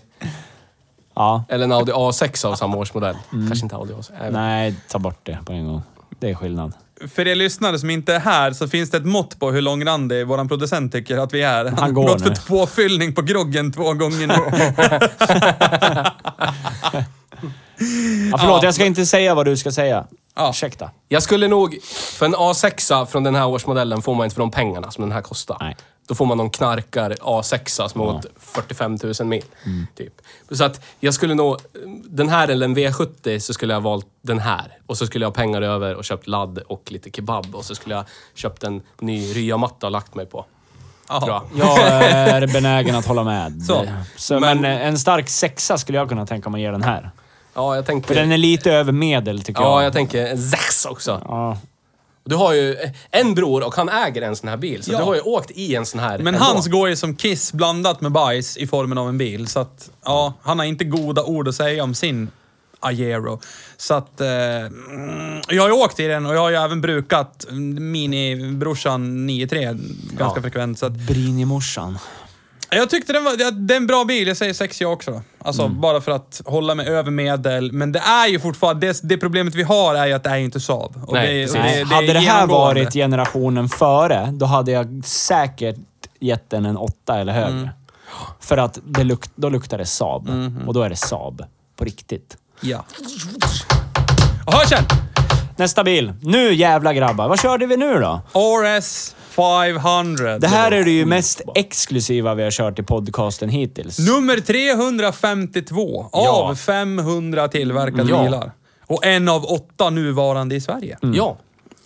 A: Ja.
C: eller en Audi A6 av samma årsmodell.
A: Mm.
C: Kanske inte Audi A6. Nej.
A: Nej, ta bort det på en gång. Det är skillnad.
B: För er lyssnare som inte är här så finns det ett mått på hur lång Randy, vår producent, tycker att vi är. Han,
A: går
B: gått
A: nu.
B: för påfyllning på groggen två gånger
A: *laughs*
B: nu.
A: Ja, förlåt, jag ska inte säga vad du ska säga.
B: Ja.
A: Ursäkta.
C: Jag skulle nog... För en A6 från den här årsmodellen får man inte för de pengarna som den här kostar.
A: Nej.
C: Då får man någon knarkar A6 som har gått 45 000 mil.
A: Mm.
C: Typ. Så att jag skulle nog... Den här eller en V70 så skulle jag ha valt den här. Och så skulle jag ha pengar över och köpt ladd och lite kebab. Och så skulle jag köpt en ny ryamatta och lagt mig på. Tror jag.
B: Jaha.
A: Jag är benägen att hålla med.
B: Så.
A: Så, men,
C: Men-
A: en stark sexa skulle jag kunna tänka mig att ge den här.
C: Ja, jag tänker...
A: För den är lite över medel tycker
C: Ja,
A: jag.
C: jag tänker en Zex också.
A: Ja.
C: Du har ju en bror och han äger en sån här bil, så
B: Ja.
C: du har ju åkt i en sån här.
B: Men
C: ändå.
B: hans går ju som kiss blandat med bajs i formen av en bil. Så att, ja, han har inte goda ord att säga om sin Aero. Så att, eh, mm, jag har ju åkt i den och jag har ju även brukat mm, minibrorsan 9.3 ganska
C: Ja.
B: frekvent. Så att,
A: Brinimorsan.
B: jag tyckte den var, det- det är en bra bil, jag säger sex jag också. Då. Alltså bara för att hålla mig över medel. Men det är ju fortfarande, det, det problemet vi har är ju att det är ju inte Saab. Och
C: Nej,
B: det,
C: precis.
B: och
A: Nej,
B: är
A: hade det här
B: genomgående.
A: varit generationen före, då hade jag säkert gett den en åtta eller högre.
B: Mm.
A: För att det luk då luktar det Saab.
B: Mm-hmm.
A: Och då är det Saab. På riktigt.
B: Ja. Jaha, känn!
A: Nästa bil. Nu jävla grabbar. Vad körde vi nu då?
B: RS 500.
A: Det här är det ju mest exklusiva vi har kört i podcasten hittills.
B: Nummer 352
C: Ja.
B: av 500 tillverkade
C: Ja.
B: bilar. Och en av åtta nuvarande i Sverige.
C: Ja.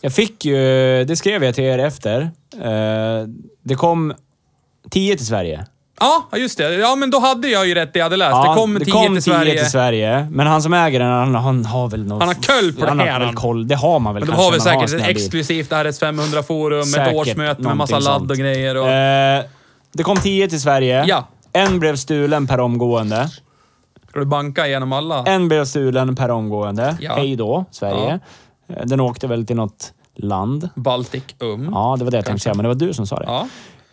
A: Jag fick ju, det skrev jag till er efter. Eh, det kom 10 till Sverige.
B: Ja, just det. Ja, men då hade jag ju rätt det jag hade läst. det kommer 10 till Sverige.
A: Alltså, till Sverige. Men han som äger den, han, han har väl något...
B: Han har koll på det
A: han
B: här,
A: Har väl
B: han.
A: koll. Det har man väl
B: Men de
A: kanske.
B: har väl
A: när
B: säkert
A: man en
B: ett
A: sån här bil.
B: exklusivt RS500 forum, ett
A: Säkert
B: årsmöte med massa
A: någonting
B: ladd
A: sånt.
B: och grejer. Och...
A: Eh, det kom 10 till Sverige.
B: Ja.
A: En blev stulen per omgående.
B: Ska du banka igenom alla?
A: En blev stulen per omgående.
B: Ja.
A: Hej då, Sverige. Eh, Den åkte väl till något land.
B: Baltic Um.
A: Ja, det var det jag tänkte säga, men det var du som sa det.
B: Ja.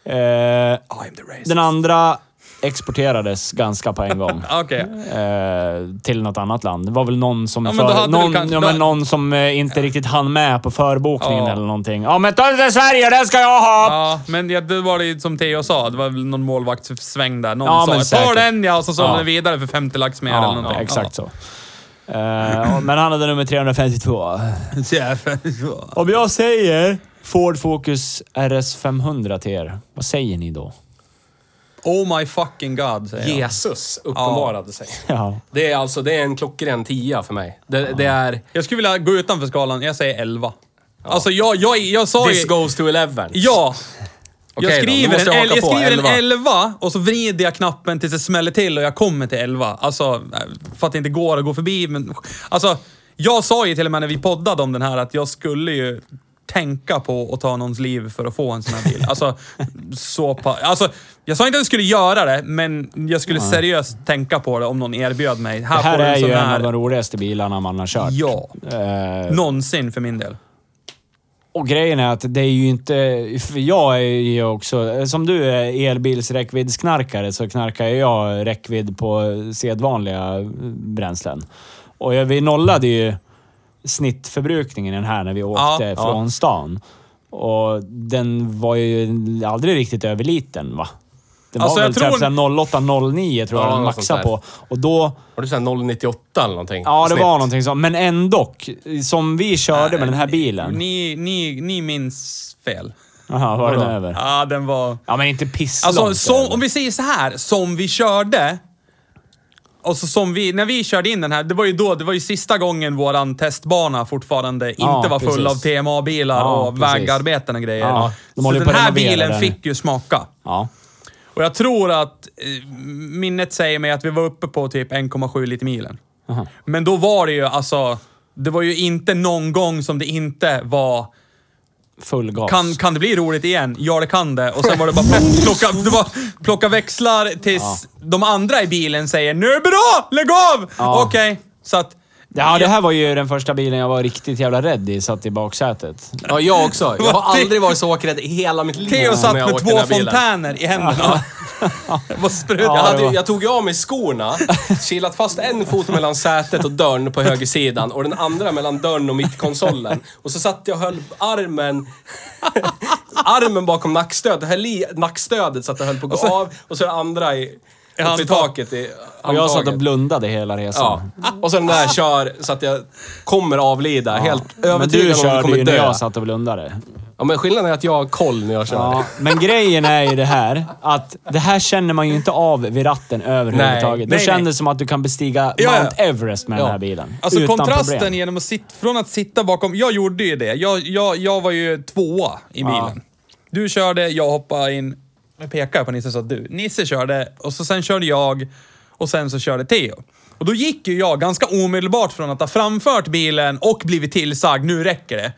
A: Eh,
B: I'm the racist.
A: den andra exporterades ganska på en gång.
B: Okej.
A: eh, till något annat land. Det var väl någon som,
B: Ja, men då
A: för,
B: hade du
A: någon,
B: kanske-
A: ja,
B: då-
A: men någon som eh, inte riktigt hann med på förbokningen
B: Ja.
A: eller någonting. Ja, men ta den till Sverige, den ska jag ha!
B: Ja, men det det var det ju som Theo sa. Det var väl någon målvaktssväng där. Någon
A: Ja, men
B: sa ta
A: säkert.
B: den ja, och så sålde
A: Ja.
B: den vidare för 50 lax mer eller
A: Ja,
B: någonting.
A: exakt så. Eh, och- men han hade nummer 352.
B: *laughs*
A: Om jag säger Ford Focus RS 500 till er, vad säger ni då? *laughs*
B: Oh my fucking god, säger jag.
C: Jesus uppenbarade sig.
A: Ja.
C: Det är alltså det är en klockren tia för mig. Det, det är...
B: Jag skulle vilja gå utanför skalan. Jag säger 11. Alltså, jag, jag, jag sa
C: This
B: ju...
C: goes to 11.
B: Ja!
C: Okej
B: jag
C: då,
B: skriver,
C: då måste
B: en,
C: jag
B: el-
C: haka
B: jag
C: på,
B: skriver en
C: 11.
B: 11 och så vrider jag knappen tills det smäller till och jag kommer till 11. Alltså, för att det inte går att gå förbi. Men, alltså, jag sa ju till och med när vi poddade om den här att jag skulle ju tänka på att ta någons liv för att få en sån här bil. Alltså, så pa- alltså, jag sa inte att jag skulle göra det, men jag skulle seriöst tänka på det om någon erbjöd mig. Här,
A: Det här
B: får du
A: är
B: en sån
A: ju en
B: här.
A: av de roligaste bilarna man har kört.
B: Ja.
A: Eh,
B: Någonsin för min del.
A: Och grejen är att det är ju inte... För jag är ju också... Som du är elbilsräckviddsknarkare så knarkar ju jag räckvidd på sedvanliga bränslen. Och jag- vi nollade ju snittförbrukningen i den här när vi åkte
B: Ja, ja.
A: från stan. Och den var ju aldrig riktigt över liten va? Det var
B: Alltså, jag
A: väl
B: tror-
A: typ såhär 08, 09 tror jag
C: Ja,
A: den
C: något
A: maxade
C: sånt där.
A: på. Och då...
C: Var det såhär 098 eller någonting?
A: Ja, det
C: Snitt.
A: var någonting sånt. Men ändå, som vi körde med den här bilen.
B: Ni, ni, ni minns fel.
A: Jaha, var den över?
B: Ja, den var...
A: Ja, men inte pisslångt.
B: Alltså, som,
A: över.
B: om vi säger så här, som vi körde. Alltså som vi, när vi körde in den här, det var ju då, det var ju sista gången våran testbana fortfarande
A: Ja,
B: inte var full
A: precis.
B: av TMA-bilar
A: Ja,
B: och
A: precis.
B: vägarbeten och grejer.
A: Ja, de
B: så
A: håller
B: den
A: på att
B: här
A: renovera
B: bilen
A: den.
B: fick ju smaka.
A: Ja.
B: Och jag tror att eh, minnet säger mig att vi var uppe på typ 1,7 liter milen.
A: Aha.
B: Men då var det ju alltså, det var ju inte någon gång som det inte var
A: Full gas.
B: kan, kan det bli roligt igen? Ja, det kan det. Och sen var det bara plocka, det var, plocka växlar tills de andra i bilen säger Nu är det bra! Lägg av!
A: Ja.
B: Okej, så att...
A: Ja, det här var ju den första bilen jag var riktigt jävla rädd i, satt i baksätet.
C: Ja, jag också. *laughs* Jag
B: Vad
C: har
B: det-
C: aldrig varit så åkrädd i hela mitt liv.
B: Theo satt
C: när jag
B: med
C: åkte
B: två
C: den här bilen.
B: fontäner i händerna. *laughs* Det var sprut.
C: Jag,
B: Ja,
C: hade,
A: det var-
C: ju- jag tog ju av mig skorna, kilat fast en fot mellan sätet och dörren på högersidan och den andra mellan dörren och mittkonsolen. Och så satt jag och höll armen, armen bakom nackstödet, höll i nackstödet så att det höll på att gå av och så den andra i, uppe i
B: handtag.
C: taket i
A: Och jag satt och
C: handtaget.
A: blundade hela
C: Ja.
A: resan.
C: Och sen där kör så att jag kommer avlida. Helt
A: Men du
C: övertygad om att jag
A: körde ju
C: kommer dö.
A: när jag satt och blundade.
C: Ja, men skillnaden är att jag har koll när jag kör.
A: Ja, men grejen är ju det här att det här känner man ju inte av vid ratten överhuvudtaget. Då
B: nej,
A: kändes det
B: nej.
A: som att du kan bestiga Mount
B: Ja, ja.
A: Everest med den
C: Ja.
A: här bilen.
B: Alltså
A: utan
B: kontrasten
A: problem.
B: genom att sitta, från att sitta bakom... Jag gjorde ju det. Jag, jag, jag var ju tvåa i bilen. Du körde, jag hoppade in. Nu pekar jag på Nisse så att du. Nisse körde och så sen körde jag och sen så körde Theo. Och då gick ju jag ganska omedelbart från att ha framfört bilen och blivit tillsagd, nu räcker det.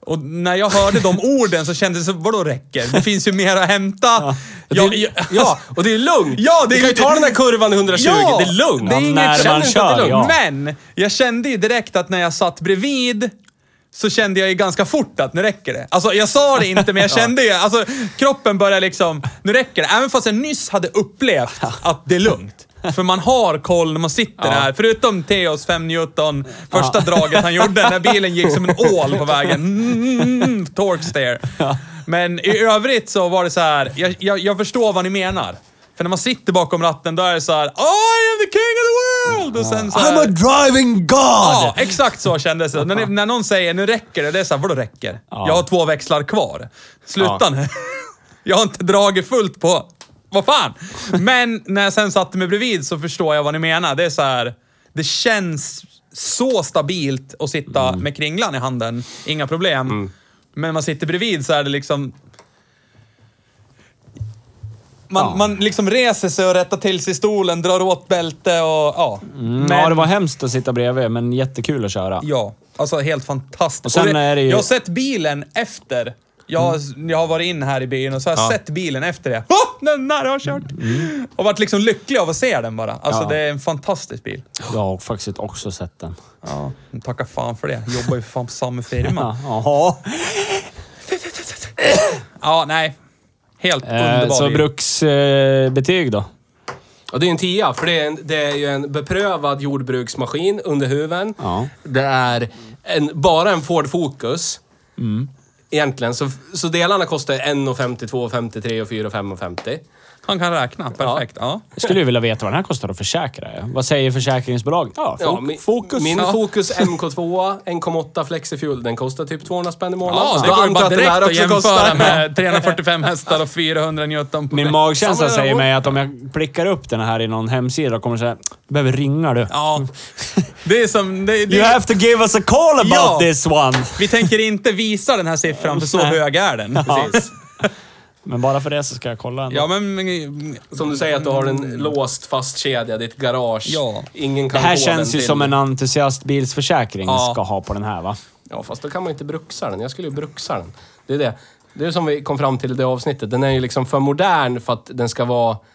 B: Och när jag hörde
C: *laughs*
B: de orden så kändes det, som, vadå räcker? Det finns ju mer att hämta. Jag, jag,
C: Ja, och det är lugnt!
B: Ja, det är
C: du kan ju
B: ju-
C: ta den där kurvan i 120,
B: Ja!
C: det är lugnt!
B: Det är
A: Ja,
B: inget
A: när man
B: känner inte att det är
A: kör,
B: lugnt.
A: ja.
B: Men jag kände ju direkt att när jag satt bredvid så kände jag ju ganska fort att nu räcker det. Alltså jag sa det inte, men jag kände ju, alltså kroppen började liksom, nu räcker det. Även fast jag nyss hade upplevt att det är lugnt. För man har koll när man sitter där. Förutom Theos 5 Newton, första draget han gjorde när bilen gick som en ål på vägen. Mm, torque steer. Men i övrigt så var det så här, jag, jag, jag förstår vad ni menar. För när man sitter bakom ratten, då är det så här I am the king of the world! Och sen så här,
A: driving god!
B: Ja, exakt så kändes det. När, ni- när någon säger nu räcker det, det är såhär, vadå räcker? Jag har två växlar kvar. Sluta
C: Ja.
B: nu. *laughs* Jag har inte dragit fullt på... Vad fan! Men när jag sen satte mig bredvid så förstår jag vad ni menar. Det är så här, det känns så stabilt att sitta med kringlan i handen. Inga problem. Men när man sitter bredvid så är det liksom... Man, man liksom reser sig och rättar till sig stolen, drar åt bälte och ja.
A: Ja, det var hemskt att sitta bredvid, men jättekul att köra.
B: Ja, alltså helt fantastiskt.
A: Och sen
B: Och det-
A: är det ju- Mm.
B: Jag har sett bilen efter. Jag, har- jag har varit in här i byn och så har jag
C: Ja.
B: sett bilen efter det. Oh, den där har jag kört! Och varit liksom lycklig av att se den bara. Alltså
A: Mm. Ja.
B: det är en fantastisk bil.
A: Jag har faktiskt också sett den.
B: Ja, tacka fan för det. Jobbar ju fan på samma
A: Ja,
B: firma.
A: Jaha.
B: Ja, nej. Helt
A: Eh,
B: underbar
A: så
B: bil.
A: bruksbetyg då?
C: Och det är en tia, för det är, en, det är ju en beprövad jordbruksmaskin under huven.
A: Ja.
C: Det är en, bara en Ford Focus. Egentligen, så, så delarna kostar 1,50, 2,50, 3,4 och 5,50.
B: Han kan räkna, perfekt. Ja.
A: Jag skulle ju vilja veta vad den här kostar att försäkra. ja. Vad säger försäkringsbolaget? Ja, fo-
C: Ja, min,
A: fokus.
C: Min
A: ja.
C: Focus MK2, 1,8 Flexifuel, den kostar typ 200 spänn i månaden.
B: Ja,
C: Så
B: det
C: då
B: går ju
C: antar
B: bara
C: jag den
B: direkt
C: här
B: att
C: också
B: jämföra
C: kostar-
B: med 345 hästar och 400 Newton. på-
A: Min magkänsla
C: Samma
A: säger
C: där.
A: mig att om jag prickar upp den här i någon hemsida kommer det säga du behöver ringa du.
B: Ja. Det är som... Det, det,
A: You have to give us a call about
B: Ja.
A: this one!
B: Vi tänker inte visa den här siffran, för så
A: Nej.
B: hög är den.
C: Precis.
A: Men bara för det så ska jag kolla ändå.
B: Ja, men... men-
C: Som du säger att du har den låst fastkedjad i ett garage.
B: Ja.
C: Ingen
A: det
C: kan
A: här
C: få den
A: känns ju
C: till-
A: som en entusiastbilsförsäkring
B: Ja.
A: ska ha på den här va?
C: Ja, fast då kan man ju inte bruxa den. Jag skulle ju bruxa den. Det är det. Det är som vi kom fram till i det avsnittet. Den är ju liksom för modern för att den ska vara
B: En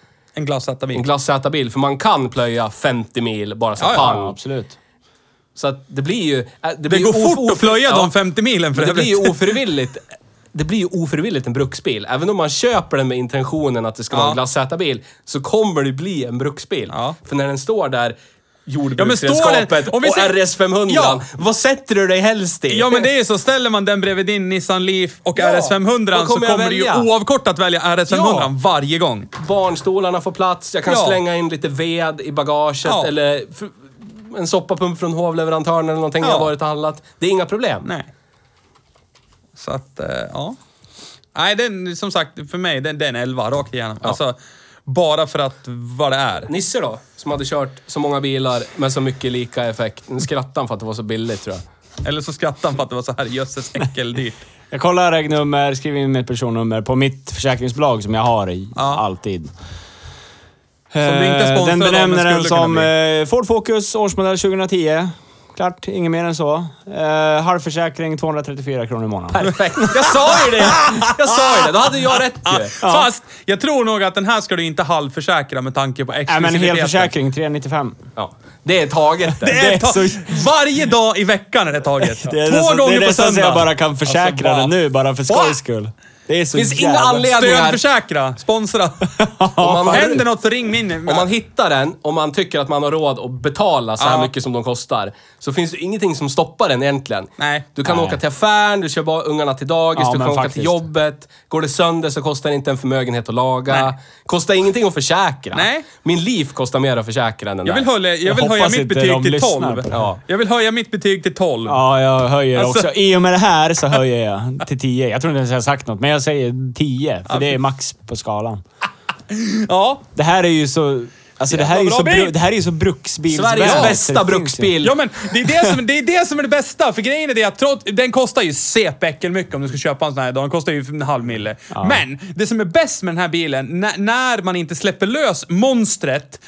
C: en
B: glassätarbil.
C: glassätarbil. För man kan plöja 50 mil bara så
B: Ja, ja,
C: pang.
A: Ja, absolut.
C: Så att det blir ju... äh, Det,
B: Det
C: blir
B: går
C: ju of-
B: fort att
C: of-
B: flöja
C: ja,
B: de 50 milen för
C: men Det blir ju
B: övrigt.
C: ofrivilligt. Det blir ju ofrivilligt en bruksbil. Även om man köper den med intentionen att det ska vara
B: Ja.
C: en glassätarbil så kommer det bli en bruksbil.
B: Ja.
C: För när den står där jordbruksredskapet
B: om vi
C: och
B: säger-
C: RS500.
B: Ja.
C: Vad sätter du dig helst i?
B: Ja men det är ju så, ställer man den bredvid din Nissan Leaf och
C: Ja,
B: RS500
C: vad
B: så
C: kommer jag
B: kommer du ju
C: välja?
B: oavkortat välja RS500
C: Ja.
B: varje gång.
C: Barnstolarna får plats, jag kan
B: Ja.
C: slänga in lite ved i bagaget
B: Ja.
C: eller f- en soppapump från hovleverantören eller någonting
B: Ja.
C: jag varit och handlat. Det är inga problem.
B: Nej. Så att, eh, ja. Nej, den, som sagt, för mig, den, den är en 11 rakt igenom. Alltså, bara för att vad det är.
C: Nisse då, som hade kört så många bilar med så mycket lika effekt. Nu skrattade han för att det var så billigt tror jag.
B: Eller så skrattar han för att det var så här jösses äckeldyrt.
A: Jag kollar regnummer, skriver in mitt personnummer på mitt försäkringsbolag som jag har i,
B: Ja.
A: alltid.
B: du inte är
A: Eh,
B: sponsrad av,
A: den
B: men
A: benämner den
B: skulle kunna
A: som eh, Ford Focus, årsmodell 2010. Klart, inget mer än så. Eh, halvförsäkring 234 kronor i månaden.
C: Perfekt. Jag sa ju det! Jag sa ju det. Då hade jag rätt ju.
B: Fast, jag tror nog att den här ska du inte halvförsäkra med tanke på
A: Nej, men
B: exklusiviteten.
A: helförsäkring 395.
C: Ja. Det är taget
B: Det är ta-
A: så-
B: Varje dag i veckan är det taget.
A: Det är
B: Två
A: nästan-
B: gånger
A: det är
B: på
A: nästan så
B: söndag.
A: jag bara kan försäkra
B: Alltså, bara-
A: den nu, bara för
B: Va?
A: skojs skull. Det är så
C: Finns inga
A: jävla... *laughs*
C: anledningar.
B: Stödförsäkra, sponsra.
C: Om man,
B: Händer något så ring min.
C: om man hittar den, om man tycker att man har råd att betala så här
B: Ja.
C: mycket som de kostar, så finns det ingenting som stoppar den egentligen.
B: Nej.
C: Du kan
A: Nej.
C: åka till affären, du kör bara ungarna till dagis,
A: Ja,
C: du kan
A: men
C: åka
A: faktiskt.
C: till jobbet. Går det sönder så kostar det inte en förmögenhet att laga.
B: Nej.
C: Kostar ingenting att försäkra.
B: Nej.
C: Min liv kostar mer att försäkra än den
B: Jag vill,
C: där.
B: höja, jag
A: Jag
B: vill höja
A: hoppas
B: mitt
A: inte
B: betyg
A: de
B: till
A: lyssnar
B: 12.
A: på det.
B: Ja. Jag vill höja mitt betyg till 12.
A: Ja, jag höjer
B: Alltså-
A: också. I och med det här så höjer jag till 10. Jag tror inte ens jag har sagt något, men jag säger 10. För det är max på skalan.
B: Ja.
A: Det här är ju så... Alltså det här är ju
B: Jävla
A: så,
B: bra
A: bru,
B: bil!
A: det här är ju så bruksbils...
C: Sveriges
A: Ja.
C: bästa
A: Det finns ju.
C: bruksbil.
B: Ja, men det är det, som, det är det som är det bästa. För grejen är det att trots, den kostar ju cp mycket om du ska köpa en sån här. Den kostar ju en halv mille. Men det som är bäst med den här bilen, när, när man inte släpper lös monstret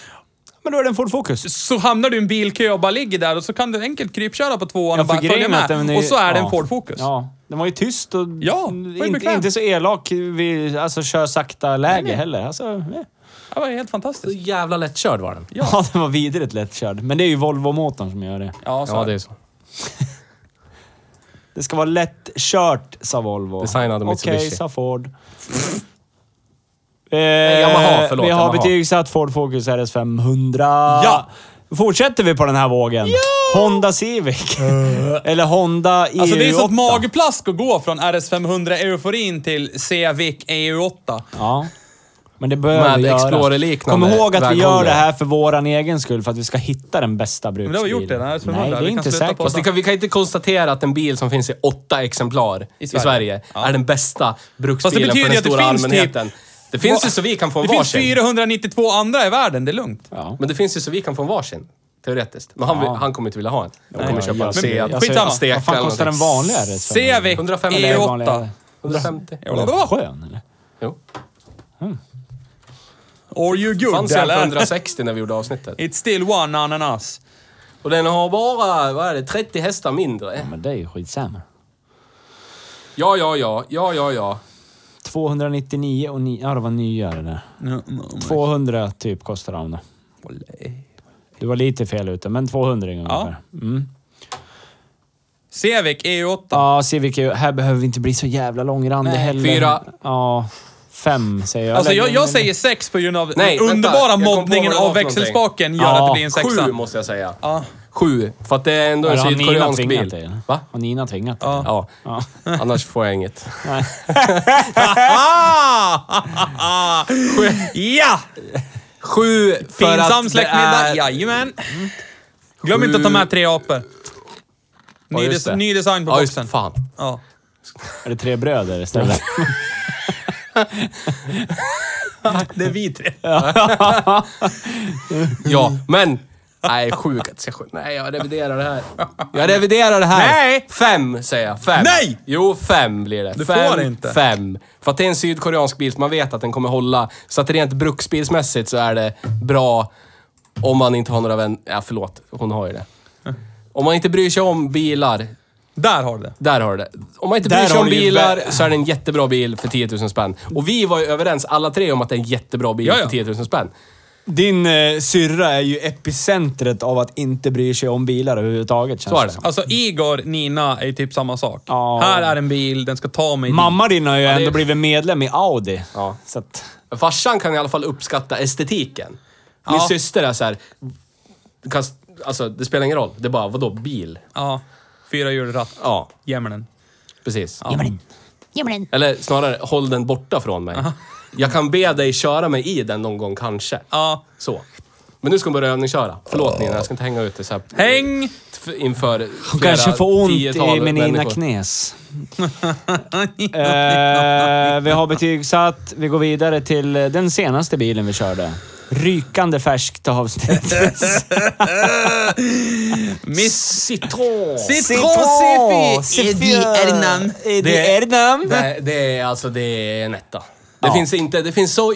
A: Men då är det en Ford Focus.
B: så hamnar du i en bilkö och bara ligger där och så kan du enkelt krypköra på tvåan och
A: Ja,
B: bara
A: för
B: följa
A: grejen är att
B: med.
A: den är,
B: och så är det en
A: ja.
B: Ford Focus.
A: Ja. Den var ju tyst och
B: Ja, var ju
A: inte,
B: bekväm.
A: inte så elak vid alltså, kör sakta-läge heller. Alltså, eh.
B: Det var helt fantastiskt.
C: Så jävla lättkörd var den.
A: *laughs* ja. den var vidrigt lättkörd. Men det är ju Volvo-motorn som gör det.
B: Ja, så
C: Ja,
B: är
C: det
B: det.
C: är så.
A: Det ska vara lättkört, sa Volvo.
C: Designad av
A: Okej,
C: Mitsubishi.
A: sa
C: *laughs*
A: Ford. eh,
C: Yamaha, förlåt,
A: vi har
C: Yamaha.
A: betygsatt Ford Focus RS500.
B: Ja!
A: Fortsätter vi på den här vågen? Honda Civic.
C: Eh.
A: Eller Honda E EU8.
B: Alltså det är
C: E
B: sånt magplask att gå från RS500-euforin till Civic E EU8.
A: Ja. Men det behöver
C: Med
A: göras.
C: Explorer-liknande
A: Kom ihåg att vi gör
C: väghållare.
A: det här för våran egen skull, för att vi ska hitta den bästa
B: Men det har
A: bruksbilen.
B: vi gjort redan. RS500.
A: Nej, det är
B: Vi kan
A: inte
B: sluta
A: säkert.
B: podda.
C: Fast det kan, vi kan inte konstatera att en bil som finns i åtta exemplar i Sverige,
B: Sverige. Ja.
C: är den bästa bruksbilen
B: betyder ju
C: för den
B: att det
C: stora
B: finns
C: allmänheten.
B: typ-
C: Det finns ju så vi kan få en
B: Det finns
C: varsin.
B: 492 andra i världen, det är lugnt.
A: Ja.
C: Men det finns ju så vi kan få en varsin. Teoretiskt. Men han, vill- han kommer inte vilja ha en. Han kommer
A: Nej,
C: köpa en
A: jag-
C: Seat.
A: jag-
B: skitsamma.
C: en Stek
A: Vad fan
C: eller
A: kostar den
C: någonting.
A: vanliga RS500?
B: Civic
C: 105
B: E
C: eller
B: E8.
C: 150.
A: Skön, eller?
C: Jo.
B: Or you good
C: Fanns en för *laughs*
B: eller?
C: 160 när vi gjorde avsnittet.
B: It's still one ananas.
C: Och den har bara, vad är det, 30 hästar mindre.
A: Men det är ju skitsamma.
C: Ja, ja, ja. Ja, ja, ja.
A: 299 och ni, ja, det var nya det där. 200 typ kostar de då. Du var lite fel ute, men 200 ungefär. Ja, mm.
B: Civic EU8.
A: ja Civic, är ju- här behöver vi inte bli så jävla långrandig
B: Nej.
A: heller.
C: Fyra.
A: Ja, fem säger jag.
B: Alltså jag,
A: Eller-
B: jag säger sex på grund av
C: Nej,
B: den
C: vänta.
B: underbara
C: Jag kom på vad
B: moddningen
C: det var
B: av
C: för någonting.
B: växelspaken gör
A: Ja,
B: att det blir en sexa.
C: Sju måste jag säga.
B: Ja.
C: Sju. För att det är ändå en
A: Eller har Nina
C: sydkoreansk
A: tvingat
C: bil.
A: dig? eller?
C: Va?
A: Har Nina tvingat dig?
B: Ja.
C: Ja.
A: Ja.
C: *laughs* Annars får jag inget.
A: Nej.
B: Ah! ja!
C: Sju för att
B: Pinsam
C: det
B: släktmiddag.
C: är- Mm.
B: Jajamän. Glöm inte att ta med tre apor. Ny,
C: just
B: des-
C: det.
B: ny design på
C: Ja, just det.
B: boxen.
C: Fan. *laughs*
B: Ja.
A: Är det tre bröder istället?
B: Det är vi tre.
C: Ja, men... Nej, sju kan inte säga sju. Nej, jag reviderar det här. Jag reviderar det här.
B: Nej!
C: Fem, säger jag. Fem.
B: Nej!
C: Jo, fem blir det.
B: Du
C: fem,
B: får inte.
C: Fem. För att det är en sydkoreansk bil, så man vet att den kommer hålla. Så att rent bruksbilsmässigt så är det bra om man inte har några vänner... Ja, förlåt. Hon har ju det. Om man inte bryr sig om bilar.
B: Där har du det.
C: Där har du det. Om man inte
A: Där
C: bryr sig om
A: har du ju
C: bilar
A: vä-
C: så är det en jättebra bil för 10 000 spänn. Och vi var ju överens alla tre om att det är en jättebra bil
B: Ja, ja.
C: för 10 000 spänn.
A: *laughs* Din eh, syrra är ju epicentret av att inte bry sig om bilar överhuvudtaget. känns
C: Så är det.
B: Alltså Igor, Nina är ju typ samma sak.
A: Ja.
B: Här är en bil, den ska ta mig dit.
A: Mamma din har ju
C: det-
A: ändå blivit medlem i Audi.
C: Ja.
A: Så att,
C: Farsan kan i alla fall uppskatta estetiken. Min
B: Ja.
C: syster är så här, kan s- Alltså, det spelar ingen roll. Det är bara, vadå bil?
B: Ja. Fyra hjul, ratt,
C: Ja,
B: jämnen.
C: precis.
D: Jamen.
C: Eller snarare, håll den borta från mig. Jag kan be dig köra mig i den någon gång kanske.
B: Ja.
C: Så. Men nu ska hon börja övningsköra. Förlåt Nina, jag ska inte hänga ut det så här.
B: Häng!
C: f- Inför
A: Hon
C: flera
A: kanske får ont i
C: tiotal
A: mina ena
C: människor.
A: knäs. eh, vi har betygsatt. Vi går vidare till eh, den senaste bilen vi körde. Rykande färskt avsnitt.
B: Miss
C: Citron!
B: Citron
A: Citron.
B: Eddie Ernam.
A: Eddie
C: Det-
A: Ernam.
C: Det, det är alltså, det är en etta. Det finns inte, det finns så...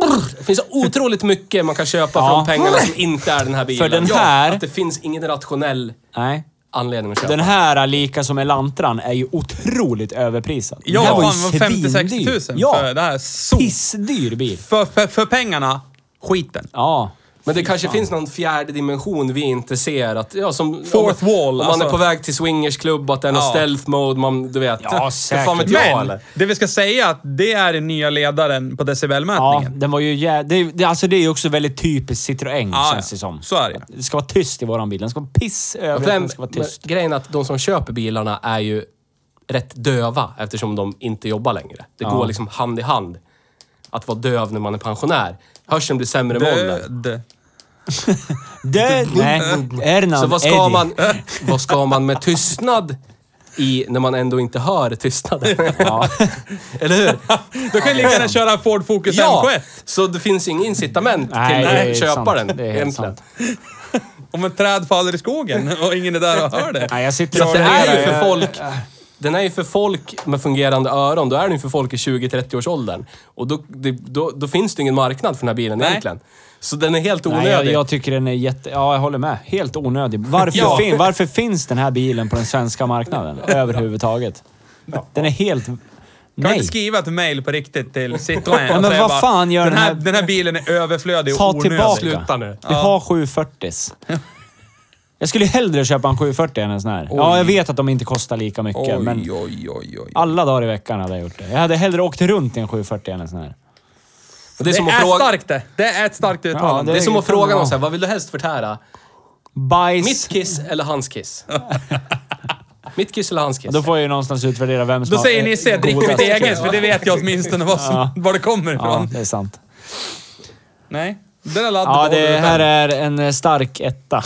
C: Brr, det finns så otroligt mycket man kan köpa
A: Ja.
C: från pengarna som inte är den här bilen.
A: För den här-
C: Ja, att det finns ingen rationell
A: Nej.
C: anledning att köpa.
A: Den här, lika som Elantran, är ju otroligt överprisad.
B: Ja,
A: Den här ju
B: fan, vad 50 60 000
A: svindyr. ja.
B: för det här. Så.
A: Pissdyr bil.
B: För, för, för pengarna, skiten.
A: Ja.
C: Men det kanske finns någon fjärde dimension vi inte ser. Att, ja, som,
B: Fourth
C: om,
B: wall,
C: Om man
B: alltså.
C: är på väg till swingersklubb, att det är någon
B: Ja.
C: stealth mode, man, du vet.
A: Ja,
C: Vad fan vet
A: säkert.
C: jag
B: Men
C: eller?
B: det vi ska säga är att det är den nya ledaren på
A: Ja,
B: decibelmätningen.
A: den var ju jä... det, är ju- det, alltså det är ju också väldigt typiskt Citroën,
B: Ja,
A: känns
B: ja.
A: det som.
B: Så är det.
A: Det ska vara tyst i våran bil. Den ska vara piss över att
C: Vem,
A: den ska vara
C: men,
A: tyst.
C: grejen är att de som köper bilarna är ju rätt döva eftersom de inte jobbar längre. Det går liksom hand i hand. Att vara döv när man är pensionär. Hörseln blir sämre med åldern.
B: Död.
C: *laughs*
A: Död! Nej, Ernan,
C: Så vad ska,
A: Eddie.
C: man, vad ska man med tystnad i när man ändå inte hör tystnaden?
A: *laughs*
C: *laughs*
A: Ja.
C: Eller hur?
B: Då kan jag lika
A: liksom.
B: gärna köra Ford Focus
C: Ja!
B: MK1.
C: Så det finns inga incitament
A: Nej,
C: till
A: det är
C: att köpa
A: sant.
C: den.
A: Det är helt
C: egentligen.
A: sant.
B: Om ett träd faller i skogen *laughs* och ingen är där och hör det.
A: Nej, jag sitter
C: Så
A: och
C: att det är ju
A: funderar.
C: för folk... Den är ju för folk med fungerande öron. Då är den ju för folk i 20-30-årsåldern. Och då, det, då, då finns det ingen marknad för den här bilen
B: Nej.
C: egentligen. Så den är helt onödig.
A: Nej, jag, jag tycker den är jätte... Ja, jag håller med. Helt onödig. Varför,
C: *laughs* Ja.
A: fin, varför finns den här bilen på den svenska
C: *laughs*
A: marknaden överhuvudtaget? Den är helt...
B: Kan vi
A: Nej.
B: inte skriva ett mail på riktigt
A: *laughs*
B: till Citroën
A: Ja,
B: och
A: men
B: säga
A: vad
B: bara,
A: fan gör
B: den
A: den
B: här,
A: här-
B: den här bilen är överflödig och
A: Ta
B: onödig.
A: tillbaka.
C: Sluta nu.
A: Vi har 740s. *laughs* Jag skulle ju hellre köpa en 740 än en sån här. Ja, jag vet att de inte kostar lika mycket, men
B: Oj, oj, oj, oj.
A: alla dagar i veckan hade jag gjort det. Jag hade hellre åkt runt i en 740 än en sån här.
C: Det är
B: Det
C: som att
B: är
C: fråga,
B: starkt det. Det är ett starkt uttalande.
C: det är som att
A: fan,
C: fråga
A: ja.
C: någon så här, vad vill du helst förtära?
A: Bajs.
C: Mitt kiss eller hans kiss? Mitt kiss eller hans kiss?
A: Då får jag ju någonstans utvärdera vem som
B: Då
A: har-
B: säger ni se, drick
A: godast.
B: mitt eget, för det vet jag åtminstone vad som, *laughs* var det kommer
A: Ja,
B: ifrån.
A: det är sant.
B: Nej. Den där ladden
A: Ja,
B: behåller
A: det
B: du
A: här
B: själv.
A: är en eh, stark
C: *laughs*
A: etta.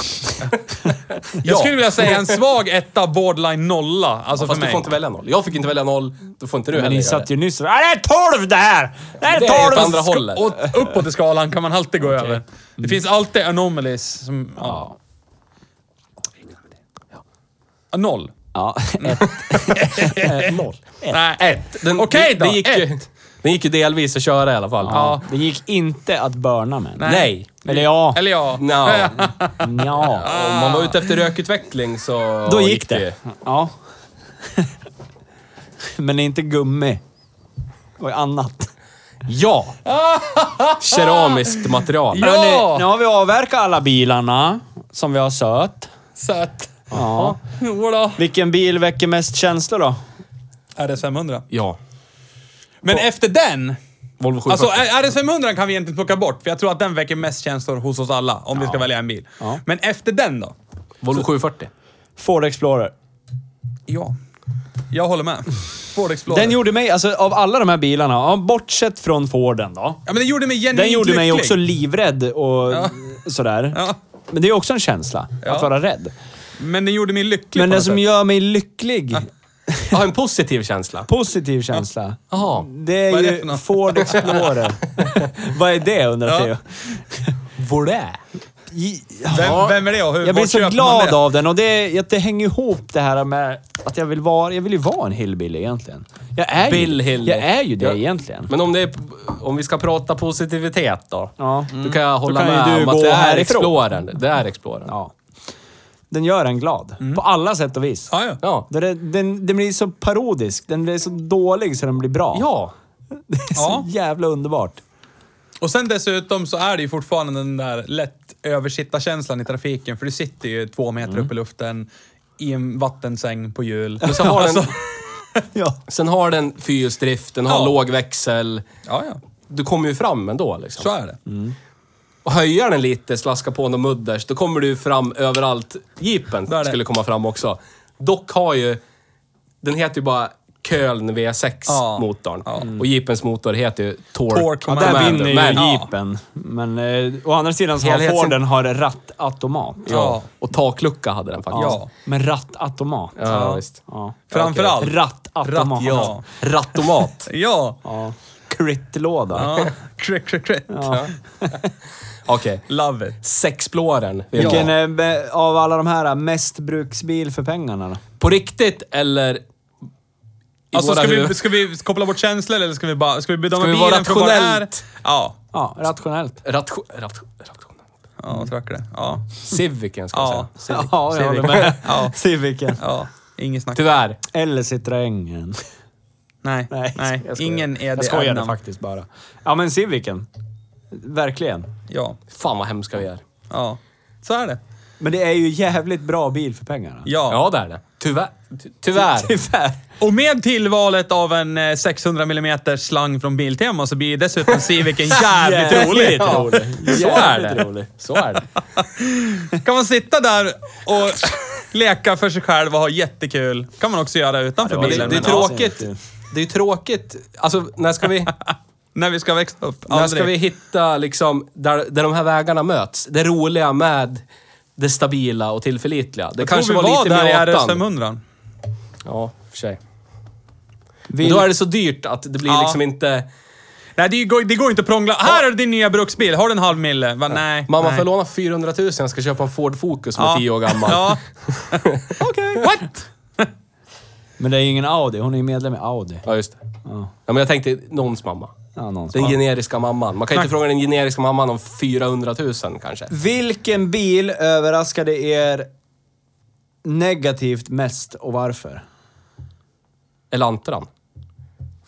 B: Jag skulle vilja säga en svag etta, borderline nolla. Alltså för
C: Fast du
B: mig.
C: får inte välja noll. Jag fick inte välja noll, då får inte du
A: Men ni
C: heller göra
A: satt
C: det.
A: ju nyss och "Ah, det är 12 det här! Det här
C: Det
A: är
C: är ju åt
A: 12!
C: andra hållet.
B: Och uppåt i skalan kan man alltid gå över. Det finns alltid anomalies som... Ja. Noll.
A: Ja, ett.
C: Noll.
B: Nej, ett.
C: Den,
B: Okej
C: den,
B: då,
C: den gick, ju,
B: ett.
C: den gick ju delvis att köra i alla fall.
A: Ja. Det gick inte att burna med.
B: Nej.
C: Nej.
A: Eller ja,
B: Eller ja.
C: Nja.
A: ja.
C: Om man var ute efter rökutveckling så...
A: Då gick det. Ja. *laughs* Men det är inte gummi. Det var ju annat.
C: Ja! Keramiskt material.
B: Ja!
A: Hörrni, nu har vi avverkat alla bilarna som vi har söt.
B: *laughs* Sött.
A: Ja.
B: Jodå.
A: Vilken bil väcker mest känslor då?
B: RS 500.
C: Ja.
B: Men efter den...
C: Volvo 740.
B: Alltså RS 500 kan vi egentligen plocka bort, för jag tror att den väcker mest känslor hos oss alla om vi ska välja en bil.
A: Ja.
B: Men efter den då?
C: Volvo 740.
A: Ford Explorer.
B: Ja. Jag håller med. Ford Explorer.
A: Den gjorde mig, alltså av alla de här bilarna, ja, bortsett från Forden då.
B: ja, men den gjorde mig genuint
A: Den gjorde mig
B: lycklig.
A: också livrädd och
B: Ja.
A: sådär.
B: Ja.
A: Men det är också en känsla,
B: Ja.
A: att vara rädd.
B: Men den gjorde mig lycklig
A: Men
B: på
A: det
B: något
A: som
B: sätt.
A: gör mig lycklig,
C: Jag har en positiv känsla.
A: positiv känsla,
C: Jaha.
A: det är
B: Vad är det för
A: ju
B: något? *laughs*
A: Ford Explorer. Vad är det undrar
B: Ja.
A: Theo?
C: Var det?
A: J-
B: Vem,
A: ja.
B: vem är det och hur
A: Jag
B: var
A: blir så
B: köper man
A: glad
B: det?
A: av den och det, att det hänger ihop det här med att jag vill vara, jag vill ju vara en hillbilly egentligen. Jag är,
C: Bill
A: ju,
C: Hillbilly.
A: jag är ju det
C: Ja.
A: egentligen.
C: Men om, det är, om vi ska prata positivitet då.
A: Ja.
C: Då kan jag hålla
A: kan ju du
C: med om att
A: gå
C: det är
A: härifrån.
C: Explorern. Det är Explorern.
A: ja. Den gör en glad. På alla sätt och vis.
B: Mm. Ja, ja.
C: Ja.
A: Den, är- den, den blir så parodisk. Den blir så dålig så den blir bra.
C: Ja.
A: *laughs* Det är så
B: Ja.
A: jävla underbart.
B: Och sen dessutom så är det ju fortfarande den där lätt översittarkänslan i trafiken, för du sitter ju två meter
A: Mm.
B: upp i luften i en vattensäng på hjul. Alltså-
C: Men sen har den,
A: Ja.
C: sen har den fyrhjulsdrift, den har
B: Ja.
C: låg växel.
B: Ja, ja.
C: Du kommer ju fram ändå liksom.
B: Så är det.
C: och höja den lite, slaska på någon mudders, då kommer du fram överallt.
B: Där är
C: Jeepen
B: det.
C: skulle komma fram också. Dock har ju... Den heter ju bara Köln
B: Ja.
C: V6-motorn.
B: Ja.
C: Och Jeepens motor heter ju Torque,
B: Torque
A: Ja,
B: Commander.
A: där
C: Commander.
A: vinner ju
C: Men-
A: jeepen. Men eh, å andra sidan så har
C: Helhets-
A: Forden har rattautomat.
B: Ja.
C: Och taklucka hade den faktiskt.
B: Ja.
A: Men rattautomat.
C: Ja,
B: Ja.
C: visst.
A: Ja.
B: Framförallt. Ratt,
A: Rattautomat.
B: ja. *laughs*
C: Rattomat.
B: Ja.
A: ja. Crit-låda.
B: ja. Crit, crit, crit.
C: Okej.
B: Love it.
C: Sexplåren. vill jag
A: Vilken
C: ha.
A: är be- av alla de här eh, mest bruksbil för pengarna då?
C: På riktigt eller i
B: Alltså,
C: våra
B: ska vi,
C: huvud-
B: ska vi koppla bort känslor eller ska vi bara ska vi bedöma
C: Ska vi vara
B: bilen för vad den är?
C: rationellt?
B: Ja.
A: Ja, rationellt.
C: Ratio... Ratio... ratio-
B: Ja, tråkigt det. Ja.
C: Civicen ska jag
B: Ja.
C: säga.
B: Civic.
A: *laughs* Ja, jag håller
B: Civic.
A: med.
B: Ja.
A: Civicen.
B: Ja. Inget
A: Typ-
B: snack.
C: Tyvärr.
A: Eller Citroengen.
B: Nej.
A: Nej,
B: Nej.
A: jag skojar.
B: Ingen är det.
A: Jag skojade
B: ämnen.
A: faktiskt bara. Ja, men Civicen. Verkligen.
B: Ja.
C: Fan vad hemska vi är.
B: Ja. Så är det.
A: Men det är ju jävligt bra bil för pengarna.
B: Ja.
C: Ja, det är det. Tyvärr. Ty- Tyvärr.
A: *laughs* Tyvärr.
B: Och med tillvalet av en eh, 600 mm slang från Biltema så blir dessutom
A: *laughs*
B: Civicen jävligt rolig.
A: Ja.
C: Så är det.
A: Jävligt rolig.
C: Så är det.
B: Kan man sitta där och leka för sig själv och ha jättekul. kan man också göra utanför
A: Ja, det var-
C: Men det,
B: bilen.
C: det är
B: men ja.
C: tråkigt. Det är tråkigt. Alltså, när
B: *laughs*
C: ska vi...
B: När vi ska växa upp.
C: När ska vi hitta liksom, där, där de här vägarna möts? Det roliga med det stabila och tillförlitliga. Det
B: Jag
C: kanske
B: tror
C: var,
B: vi
C: lite mer
B: där i RS
C: åttan.
B: 500.
C: Ja, för sig.
A: Vill-
C: Men Då är det så dyrt att det blir
B: Ja.
C: liksom inte...
B: Nej, det går, det går inte att prångla. Här är din nya bruksbil. Har du en halv mille? Va, nej.
C: Mamma,
B: nej.
C: får jag låna 400 000? Jag ska köpa en Ford Focus som är 10 år
B: *laughs*
C: gammal.
B: Ja. Okej.
A: *laughs*
B: What?
A: Men det är ju ingen Audi. Hon är ju medlem i Audi.
C: Ja, just det.
A: Ja,
C: Ja, men jag tänkte någons mamma.
A: ja någon som
C: Den
A: har-
C: generiska mamman. Man kan inte fråga den generiska mamman om 400 000 kanske.
A: Vilken bil överraskade er negativt mest och varför?
C: Elantran.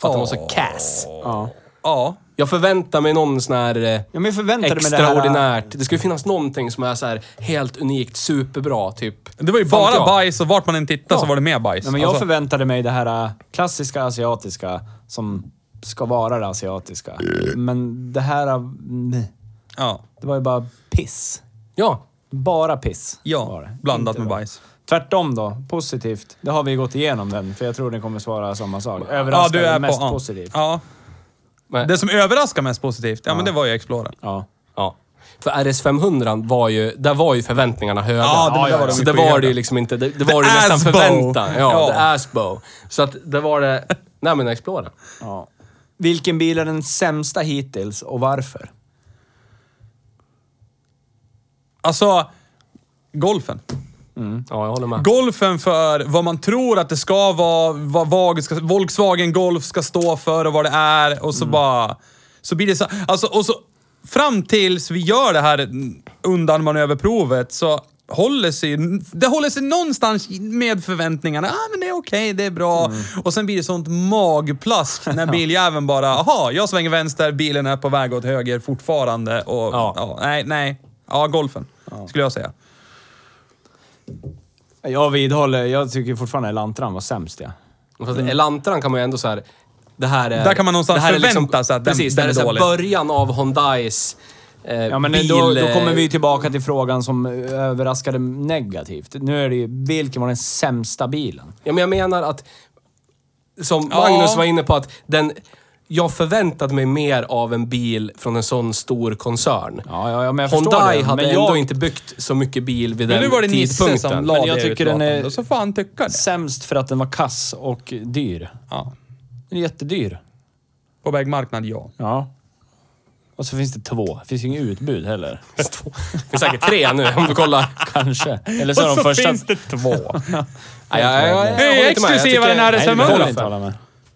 C: För att den var så
B: Åh.
C: kass.
A: Ja.
B: Ja.
C: Jag förväntar mig någon sån här... eh,
A: Ja, men jag förväntade mig det här...
C: Extraordinärt. Det skulle finnas någonting som är så här helt unikt, superbra, typ.
B: Det var ju
C: Fan vet
B: bara
C: jag.
B: bajs och vart man än tittade så
A: Ja.
B: var det mer bajs.
A: Nej, men jag
B: Alltså,
A: förväntade mig det här äh, klassiska asiatiska som ska vara det asiatiska. Men det här... äh, nej.
B: ja.
A: Det var ju bara piss.
C: Ja.
A: Bara piss. var
B: Ja,
A: det.
B: blandat
A: Inte
B: med
A: bra.
B: bajs.
A: Tvärtom då, positivt. Det har vi gått igenom den, för jag tror ni kommer svara samma sak.
B: Ja,
A: Överraskande,
B: du är
A: mest
B: på, ja.
A: positivt. Ja.
B: Ja.
C: Men,
B: Det som överraskar mest positivt, ja, men det var ju Explorer.
C: ja. För RS500 var ju, där var ju förväntningarna höga.
B: Ja, det-
A: där var de
C: Så
B: ju
C: det var
B: skyhöga.
C: det ju liksom inte, det, det var det
B: The
C: nästan
B: Asbo.
C: förväntan. Ja,
B: Ja.
C: the Asbo. Så att det var det, nej men Explorer.
A: Ja. Vilken bil är den sämsta hittills och varför?
B: Alltså, golfen.
C: Ja, jag håller med.
B: Golfen för vad man tror att det ska vara, vad vag- ska- Volkswagen Golf ska stå för och vad det är. Och så bara... Så blir det så... Alltså, och så... Fram tills vi gör det här undanmanöverprovet så håller sig... Det håller sig någonstans med förväntningarna. Ah, men det är okej, det är bra. Och sen blir det sånt magplask när biljäveln bara, aha, jag svänger vänster, bilen är på väg åt höger fortfarande. Och,
C: Ja.
B: ja. nej, nej. Ja, golfen, skulle jag säga.
A: Jag vidhåller, jag tycker fortfarande Lantran var sämst ja.
C: Fast Elantran kan man ju ändå så här. Det här är,
B: Där kan man någonstans
C: det här är liksom-
B: förvänta sig att den-
C: Precis,
B: den
C: det här är
B: är
C: så här
B: dålig.
C: början av Hondais eh,
A: Ja men
C: bil...
A: då, då kommer
C: eh,
A: vi tillbaka till frågan som eh, överraskade negativt. Nu är det ju, vilken var den sämsta bilen?
C: eh, Ja, men jag menar att... Som
B: Ja.
C: Magnus var inne på, att den... Jag förväntade mig mer av en bil från en sån stor koncern.
A: Ja, ja, ja men jag förstår
C: Hyundai
A: det.
C: hade
A: men
C: ändå
A: jag,
C: inte byggt så mycket bil
B: Men
C: vid den
B: nu var det Nisse som
C: tidpunkten.
B: la
A: Men jag
B: det
A: tycker den är-
B: utlåtandet, och så får han tycka det.
A: Sämst för att den var kass och dyr.
B: Ja.
A: Den är jättedyr.
B: På vägmarknad, ja.
A: Ja. Och så finns det två. Det finns ju inget utbud heller.
C: Det finns säkert tre nu, om du kollar.
A: Kanske. Eller så är
B: Och så
A: de första...
B: finns det två.
C: Nej, jag- jag- jag håller inte med. Jag
B: exklusiva
C: tycker-
B: den här
A: Nej, det
B: SM100.
A: behöver jag inte hålla med.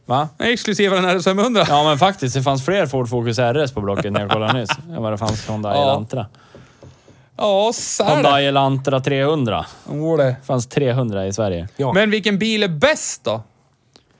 A: Va?
B: Exklusiva den här SM100.
A: Ja men faktiskt, det fanns fler Ford Focus RS på Blocket när jag kollade nyss än vad det fanns Hyundai
B: Ja.
A: Elantra.
B: Ja, så är det.
A: Hyundai Elantra 300.
B: Åh, det.
A: Det fanns 300 i Sverige.
C: Ja.
B: Men vilken bil är bäst då?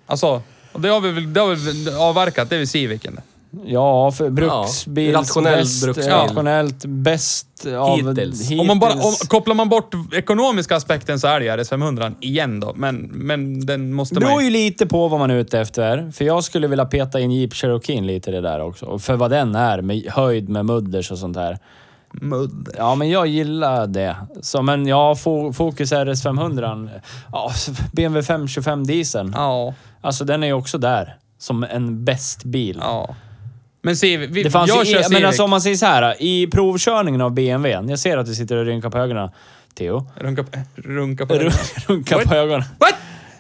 B: Alltså, och det har vi väl det har vi väl avverkat. Det är väl Civicen.
A: Ja, för bruksbil.
C: Ja, rationell
A: bäst,
C: bruksbil.
A: Rationellt bäst av...
C: Hittills.
B: Om man bara, om, kopplar man bort ekonomiska aspekten så är det ju RS500 igen då. Men, men den måste
A: Det
B: man
A: beror
B: ju...
A: ju lite på vad man är ute efter. För jag skulle vilja peta in Jeep Cherokee lite i det där också. För vad den är, med höjd med mudders och sånt där.
B: Mudd.
A: Ja, men jag gillar det. Så, men ja, fo- Focus RS 500. Ja, BMW 525 dieseln.
B: Ja,
A: Alltså den är ju också där. Som en bäst bil.
B: ja. Men Civic, vi,
A: Det fanns
B: jag
A: ju,
B: kör
A: i,
B: Civic.
A: men alltså om man säger så här. I provkörningen av BMWn. Jag ser att du sitter och rynkar på ögonen, Theo.
B: Runka, runka på den.
A: *laughs* Runkar
B: What?
A: på ögonen.
B: What?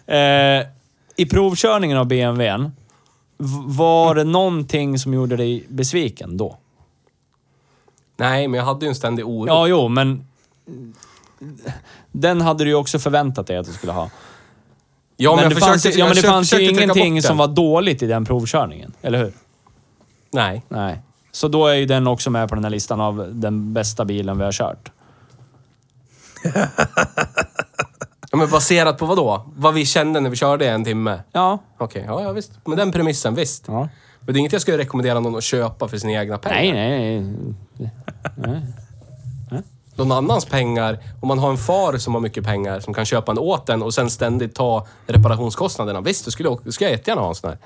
A: Eh, I provkörningen av BMWn, v- var det någonting som gjorde dig besviken då?
C: Nej, men jag hade ju en ständig oro.
A: Ja, jo, men... Den hade du ju också förväntat dig att du skulle ha.
C: Ja,
A: men,
C: jag
A: det fanns, ju-
C: försökte-
A: ja, men det
C: jag
A: fanns ju
C: försökte trycka bort
A: ingenting
C: den.
A: som var dåligt i den provkörningen, eller hur?
C: Nej.
A: Nej. Så då är ju den också med på den här listan av den bästa bilen vi har kört.
C: Ja, men baserat på vad då? Vad vi kände när vi körde i en timme?
A: Ja.
C: Okej, ja, ja visst. Med den premissen, visst.
A: ja.
C: Men det är inget jag skulle rekommendera någon att köpa för sina egna pengar.
A: Nej, nej, nej.
C: Någon annans pengar. Om man har en far som har mycket pengar som kan köpa en åt en och sen ständigt ta reparationskostnaderna. Visst, då skulle jag, då skulle jag jättegärna ha en sån här.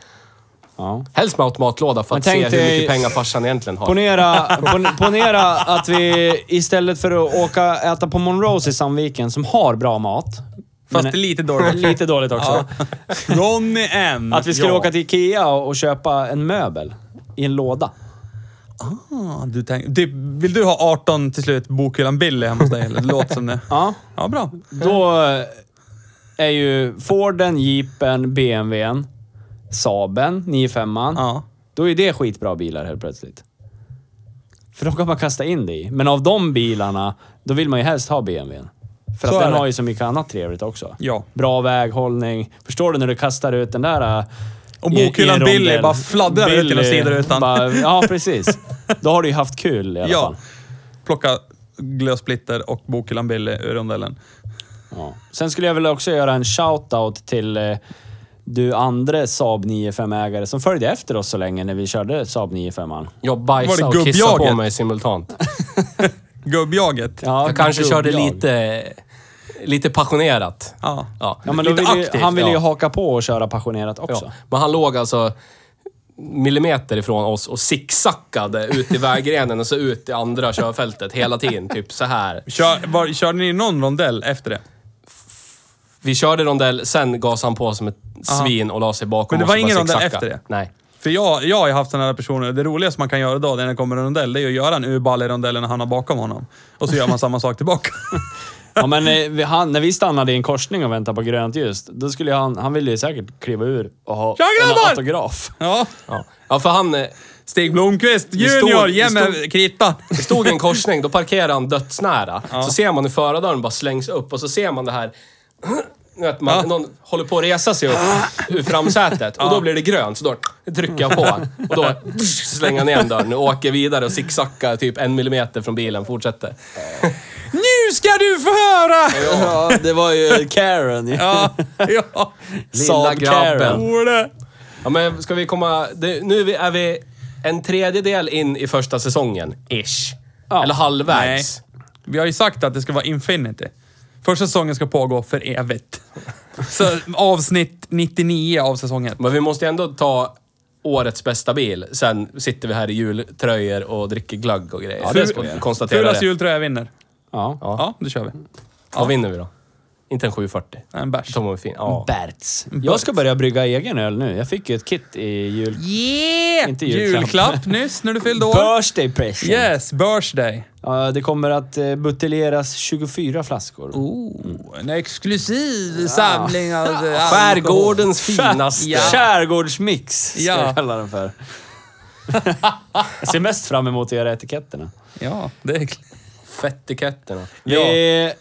A: Ja.
C: Helst med automatlåda för
A: Men
C: att se hur
A: tänk
C: mycket
A: dig-
C: pengar farsan egentligen har.
A: Ponera, pon, ponera att vi istället för att åka äta på Monrose i Sandviken, som har bra mat.
B: Fast
A: men-
B: det är lite dåligt.
A: *laughs* lite dåligt också.
B: Alltså, Ronny M.
A: Att vi skulle
B: ja.
A: åka till Ikea och, och köpa en möbel i en låda.
B: Ah, Du tänk, typ, vill du ha 18 till slut bokhyllan Billy hemma hos dig? Eller? Det låter som det.
A: Ja.
B: Ja, bra.
A: Då eh, är ju Forden, Jeepen, BMWn, Saaben, 95
B: Ja.
A: Då är det skitbra bilar helt plötsligt. För de kan man kasta in det i. Men av de bilarna, då vill man ju helst ha BMWn. För
B: Så
A: att
B: är
A: den
B: det.
A: har ju så mycket annat trevligt också.
B: Ja.
A: Bra väghållning. Förstår du när du kastar ut den där... eh,
B: Och
A: i- i en
B: bokhyllan
A: rondell.
B: Billy bara fladdrar ut genom
A: Billy
B: sidorutan.
A: bara- Ja,
B: *laughs*
A: precis. Då har du ju haft kul i alla
B: Ja.
A: fall.
B: Plocka glösplitter och bokhyllan Billy ur rondellen.
A: Ja. Sen skulle jag väl också göra en shout-out till eh, du andre Saab 95-ägare som följde efter oss så länge när vi körde Saab 95.
C: Jag bajsade
B: Var det
C: och kissade på
B: gubbjaget?
C: mig simultant.
B: Gubbjaget.
A: Ja,
C: Jag kanske
A: gubbjag.
C: körde lite, lite passionerat.
B: Ja.
C: Ja,
A: Ja, men då
C: lite
A: vill ju,
C: aktivt,
A: han ville ju
C: ja.
A: haka på och köra passionerat också.
C: Ja. Men han låg alltså millimeter ifrån oss och zigzackade ut i vägrenen och så ut i andra körfältet hela tiden. Typ så här.
B: Kör, var, körde ni någon rondell efter det?
C: Vi körde rondell, sen gasade han på som ett svin och la sig
B: Men
C: bakom
B: det
C: oss
B: var
C: och bara
B: ingen rondell
C: zigzacka.
B: efter det?
C: Nej.
B: För jag, jag har ju haft sådana här personer. Det roligaste man kan göra då, när det kommer en rondell, det är ju att göra en urballe i rondellen och hamna bakom honom. Och så gör man samma sak tillbaka. *laughs*
A: Ja, men eh, vi, han, när vi stannade i en korsning och väntade på grönt ljus, då skulle han... Han ville ju säkert kliva ur och ha
B: Tja, grabbar!
A: en autograf.
B: Ja.
C: Ja. ja, för han... eh,
B: Stig Blomqvist
C: står-
B: junior,
C: vi
B: ge mig
C: står-
B: kritan.
C: Det stod i en korsning, då parkerade han dödsnära. Så ser man hur förardörren bara slängs upp och så ser man det här... *clears throat* Nu vet man,
B: Ja.
C: någon håller på att resa sig upp ur framsätet och då blir det grönt. Så då trycker jag på och då slänger jag ner dörren och åker vidare och zigzackar typ en millimeter från bilen. Fortsätter.
B: Nu ska du få höra!
A: Ja, det var ju Karen.
B: Ja, ja.
C: *laughs* Lilla grabben.
B: Ole.
C: Ja, men ska vi komma... Det, nu är vi, är vi en tredjedel in i första säsongen, ish.
A: Ja.
C: Eller
B: Nej.
C: halvvägs.
B: Vi har ju sagt att det ska vara Infinity. Första säsongen ska pågå för evigt. Så avsnitt 99 av säsongen.
C: Men vi måste ändå ta årets bästa bil. Sen sitter vi här i jultröjor och dricker glögg och grejer. Ja,
A: det ska vi göra.
C: konstatera
B: Fulast
C: det.
B: jul tror jag vinner.
A: Ja.
B: Ja, det kör vi.
C: Vad vinner vi då? Inte en 740.
B: Nej, En bärs.
C: Tom och fin. Ja.
A: Berts. Jag ska börja brygga egen öl nu. Jag fick ju ett kit i jul...
B: Yeah!
A: Inte julklapp.
B: Julklapp nyss när du fyllde år.
A: Birthday present.
B: Yes, birthday.
A: Ja, det kommer att eh, buteljeras 24 flaskor.
B: Oh, en exklusiv samling av alkohol.
C: Skärgårdens finaste.
B: Ja.
A: Skärgårdsmix, ska
B: Ja.
A: jag kalla
B: *laughs*
A: den för. jag ser mest fram emot att göra etiketterna.
B: Ja, det är klart.
C: Fettiketterna. Ja.
A: Vi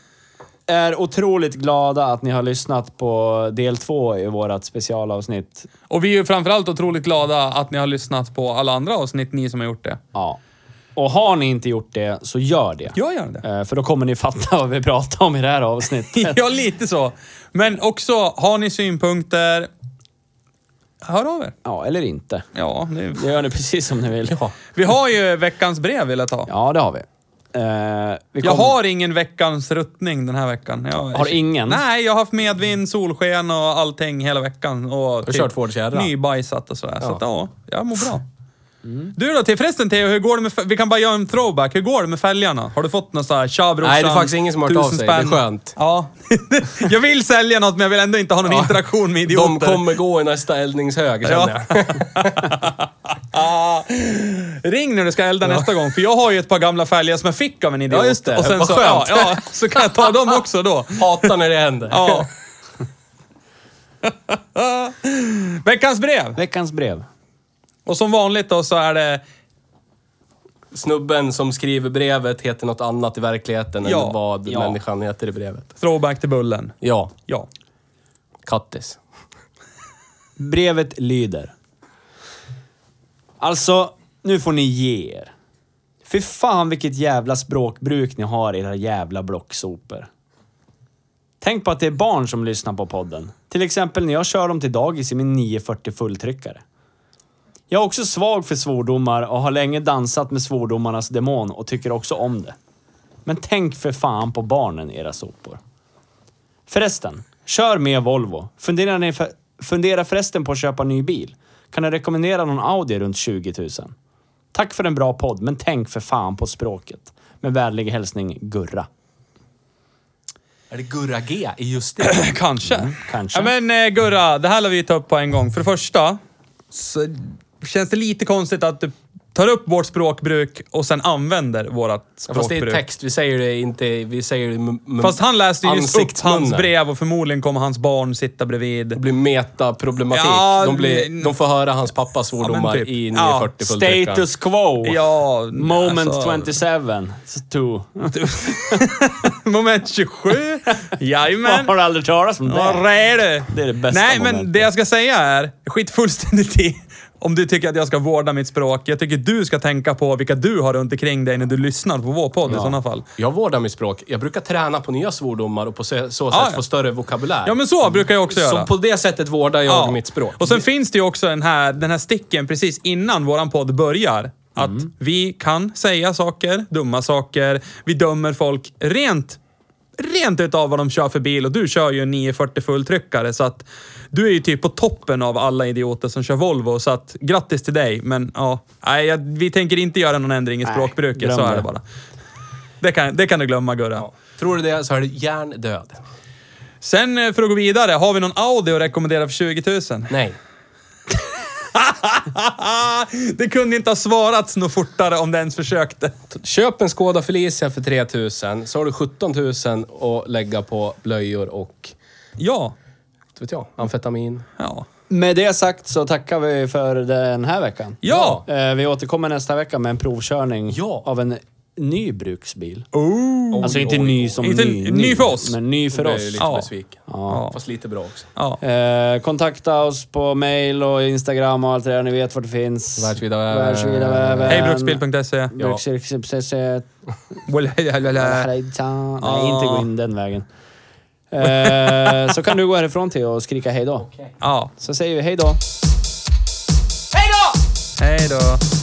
A: är otroligt glada att ni har lyssnat på del två i vårt specialavsnitt.
B: Och vi är ju framförallt otroligt glada att ni har lyssnat på alla andra avsnitt, ni som har gjort det.
A: Ja. Och har ni inte gjort det, så gör det.
B: Jag gör det.
A: Eh, För då kommer ni fatta vad vi pratar om i det här avsnittet.
B: *laughs* ja, lite så. Men också, har ni synpunkter, hör av er.
A: Ja, eller inte.
B: Ja, nu.
A: Det gör ni precis som ni vill. Ja,
B: Vi har ju veckans brev vill jag ta.
A: det har vi. Eh, vi
B: Jag
A: kommer-
B: har ingen veckans ruttning den här veckan. Jag,
A: Har ingen?
B: Nej, jag har haft medvind, solsken och allting hela veckan. Och typ
C: kört Ford Sierra. *laughs*
B: Nybajsat och sådär. Så att, ja, jag mår bra.
C: Mm.
B: Du då till förresten Theo, hur går det med, fä- vi kan bara göra en throwback. Hur går det med fälgarna? Har du fått någon sån här tja brorsan,
C: Nej, det är faktiskt ingen som har hört av
B: tusen
C: sig. Det är
B: spänn?
C: skönt.
B: Ja. *laughs* jag vill sälja något men jag vill ändå inte ha någon
C: Ja.
B: interaktion med idioter.
C: De kommer gå i nästa eldningshög, känner
B: Ja. *laughs*
C: jag.
B: Ring när du ska elda nästa gång, för jag har ju ett par gamla fälgar som jag fick av en idiot.
C: Ja, just det.
B: Och sen
C: Vad
B: så, ja,
C: skönt.
B: ja, så kan jag ta dem också då.
C: Hatar när det händer.
B: *laughs* Ja. Veckans brev!
A: Veckans brev.
B: Och som vanligt då så är det...
C: Snubben som skriver brevet heter något annat i verkligheten
B: Ja.
C: än vad
A: Ja.
C: människan heter i brevet.
B: Throwback till bullen.
C: Ja,
B: Ja.
C: Kattis.
A: Brevet lyder. Alltså, nu får ni ge er. Fy fan vilket jävla språkbruk ni har i era jävla blocksopor. Tänk på att det är barn som lyssnar på podden. Till exempel när jag kör dem till dagis i min 940 fulltryckare. Jag är också svag för svordomar och har länge dansat med svordomarnas demon och tycker också om det. Men tänk för fan på barnen, era sopor. Förresten, kör med Volvo. Funderar, ni för, funderar förresten på att köpa ny bil? Kan jag rekommendera någon Audi runt 20 000? Tack för en bra podd, men tänk för fan på språket. Med vänlig hälsning Gurra.
C: Är det Gurra G i just det?
B: *clears throat* Mm, Kanske.
A: kanske.
B: Ja, men eh, Gurra, det här lär vi ju ta upp på en gång. För det första så känns det lite konstigt att du tar upp vårt språkbruk och sen använder vårt
C: Ja,
B: språkbruk.
C: *clears throat* fast det är text, vi säger det inte... Vi säger det m- m-
B: Fast han läste ju just upp
C: ansiktsmunnen.
B: hans brev och förmodligen kommer hans barn sitta
C: Det
B: bredvid. *laughs*
C: blir metaproblematik.
B: Ja,
C: de, blir,
B: men-
C: de får höra hans pappas svordomar
B: typ.
C: i
B: Ja,
C: 940 fulltryckaren.
A: Status quo!
B: Ja,
A: Moment
B: alltså-
A: 27. Two.
B: Moment 27.
A: Jag
B: Jajamän.
A: *laughs* har aldrig talat om
B: Vad
A: det.
B: är det?
A: Det är det bästa
B: Nej, men
A: momentet.
B: det jag ska säga är, skit fullständigt i om du tycker att jag ska vårda mitt språk. Jag tycker du ska tänka på vilka du har runt omkring dig när du lyssnar på vår podd i sådana fall.
C: Jag vårdar mitt språk. Jag brukar träna på nya svordomar och på så, så sätt
B: Ja, ja.
C: få större vokabulär.
B: Ja, men så brukar jag också
C: så
B: göra.
C: på det sättet vårdar jag mitt språk.
B: Och sen finns det ju också den här, den här sticken precis innan våran podd börjar. Att vi kan säga saker, dumma saker. Vi dömer folk rent, rent utav vad de kör för bil. Och du kör ju en 940 fulltryckare. Så att du är ju typ på toppen av alla idioter som kör Volvo. Så att grattis till dig. Men ja, nej, jag, vi tänker inte göra någon ändring i
A: Nej,
B: språkbruket. Så
A: glöm
B: är
A: det.
B: det bara. Det kan, det kan du glömma Gurra.
C: Tror du det så är du hjärndöd.
B: Sen eh, för att gå vidare, har vi någon Audi att rekommendera för 20 000?
C: Nej.
B: Det kunde inte ha svarats något fortare om det ens försökte.
C: Köp en Skoda Felicia för 3000 så har du 17 000 att lägga på blöjor och,
B: Ja.
C: inte vet jag, amfetamin.
B: Ja.
A: Med det sagt så tackar vi för den här veckan.
B: Ja!
A: Eh, Vi återkommer nästa vecka med en provkörning
C: Ja.
A: av en ny bruksbil.
B: Oh.
A: Alltså inte
C: oj,
A: ny
C: oj.
A: som
B: Inte
A: ny,
B: ny för oss.
A: Men ny för
C: Då blir
A: oss.
C: jag ju liksom-
B: Ja.
C: lite besviken.
B: Ja.
C: Fast lite bra också.
B: ja.
A: Eh, kontakta oss på mail och Instagram och allt det där. Ni vet var det finns.
C: Världsvida väven.
A: Världsvida väven.
B: Hej bruksbil.se.
A: Bruksyrkespriset.
B: Well, hej, hej, hej, hej.
A: Hejsan.
B: Ja.
A: Nej, inte gå in den vägen. Eh, så kan du gå härifrån till och skrika hej då.
B: Ja.
A: Så säger vi hej då.
B: Hej då!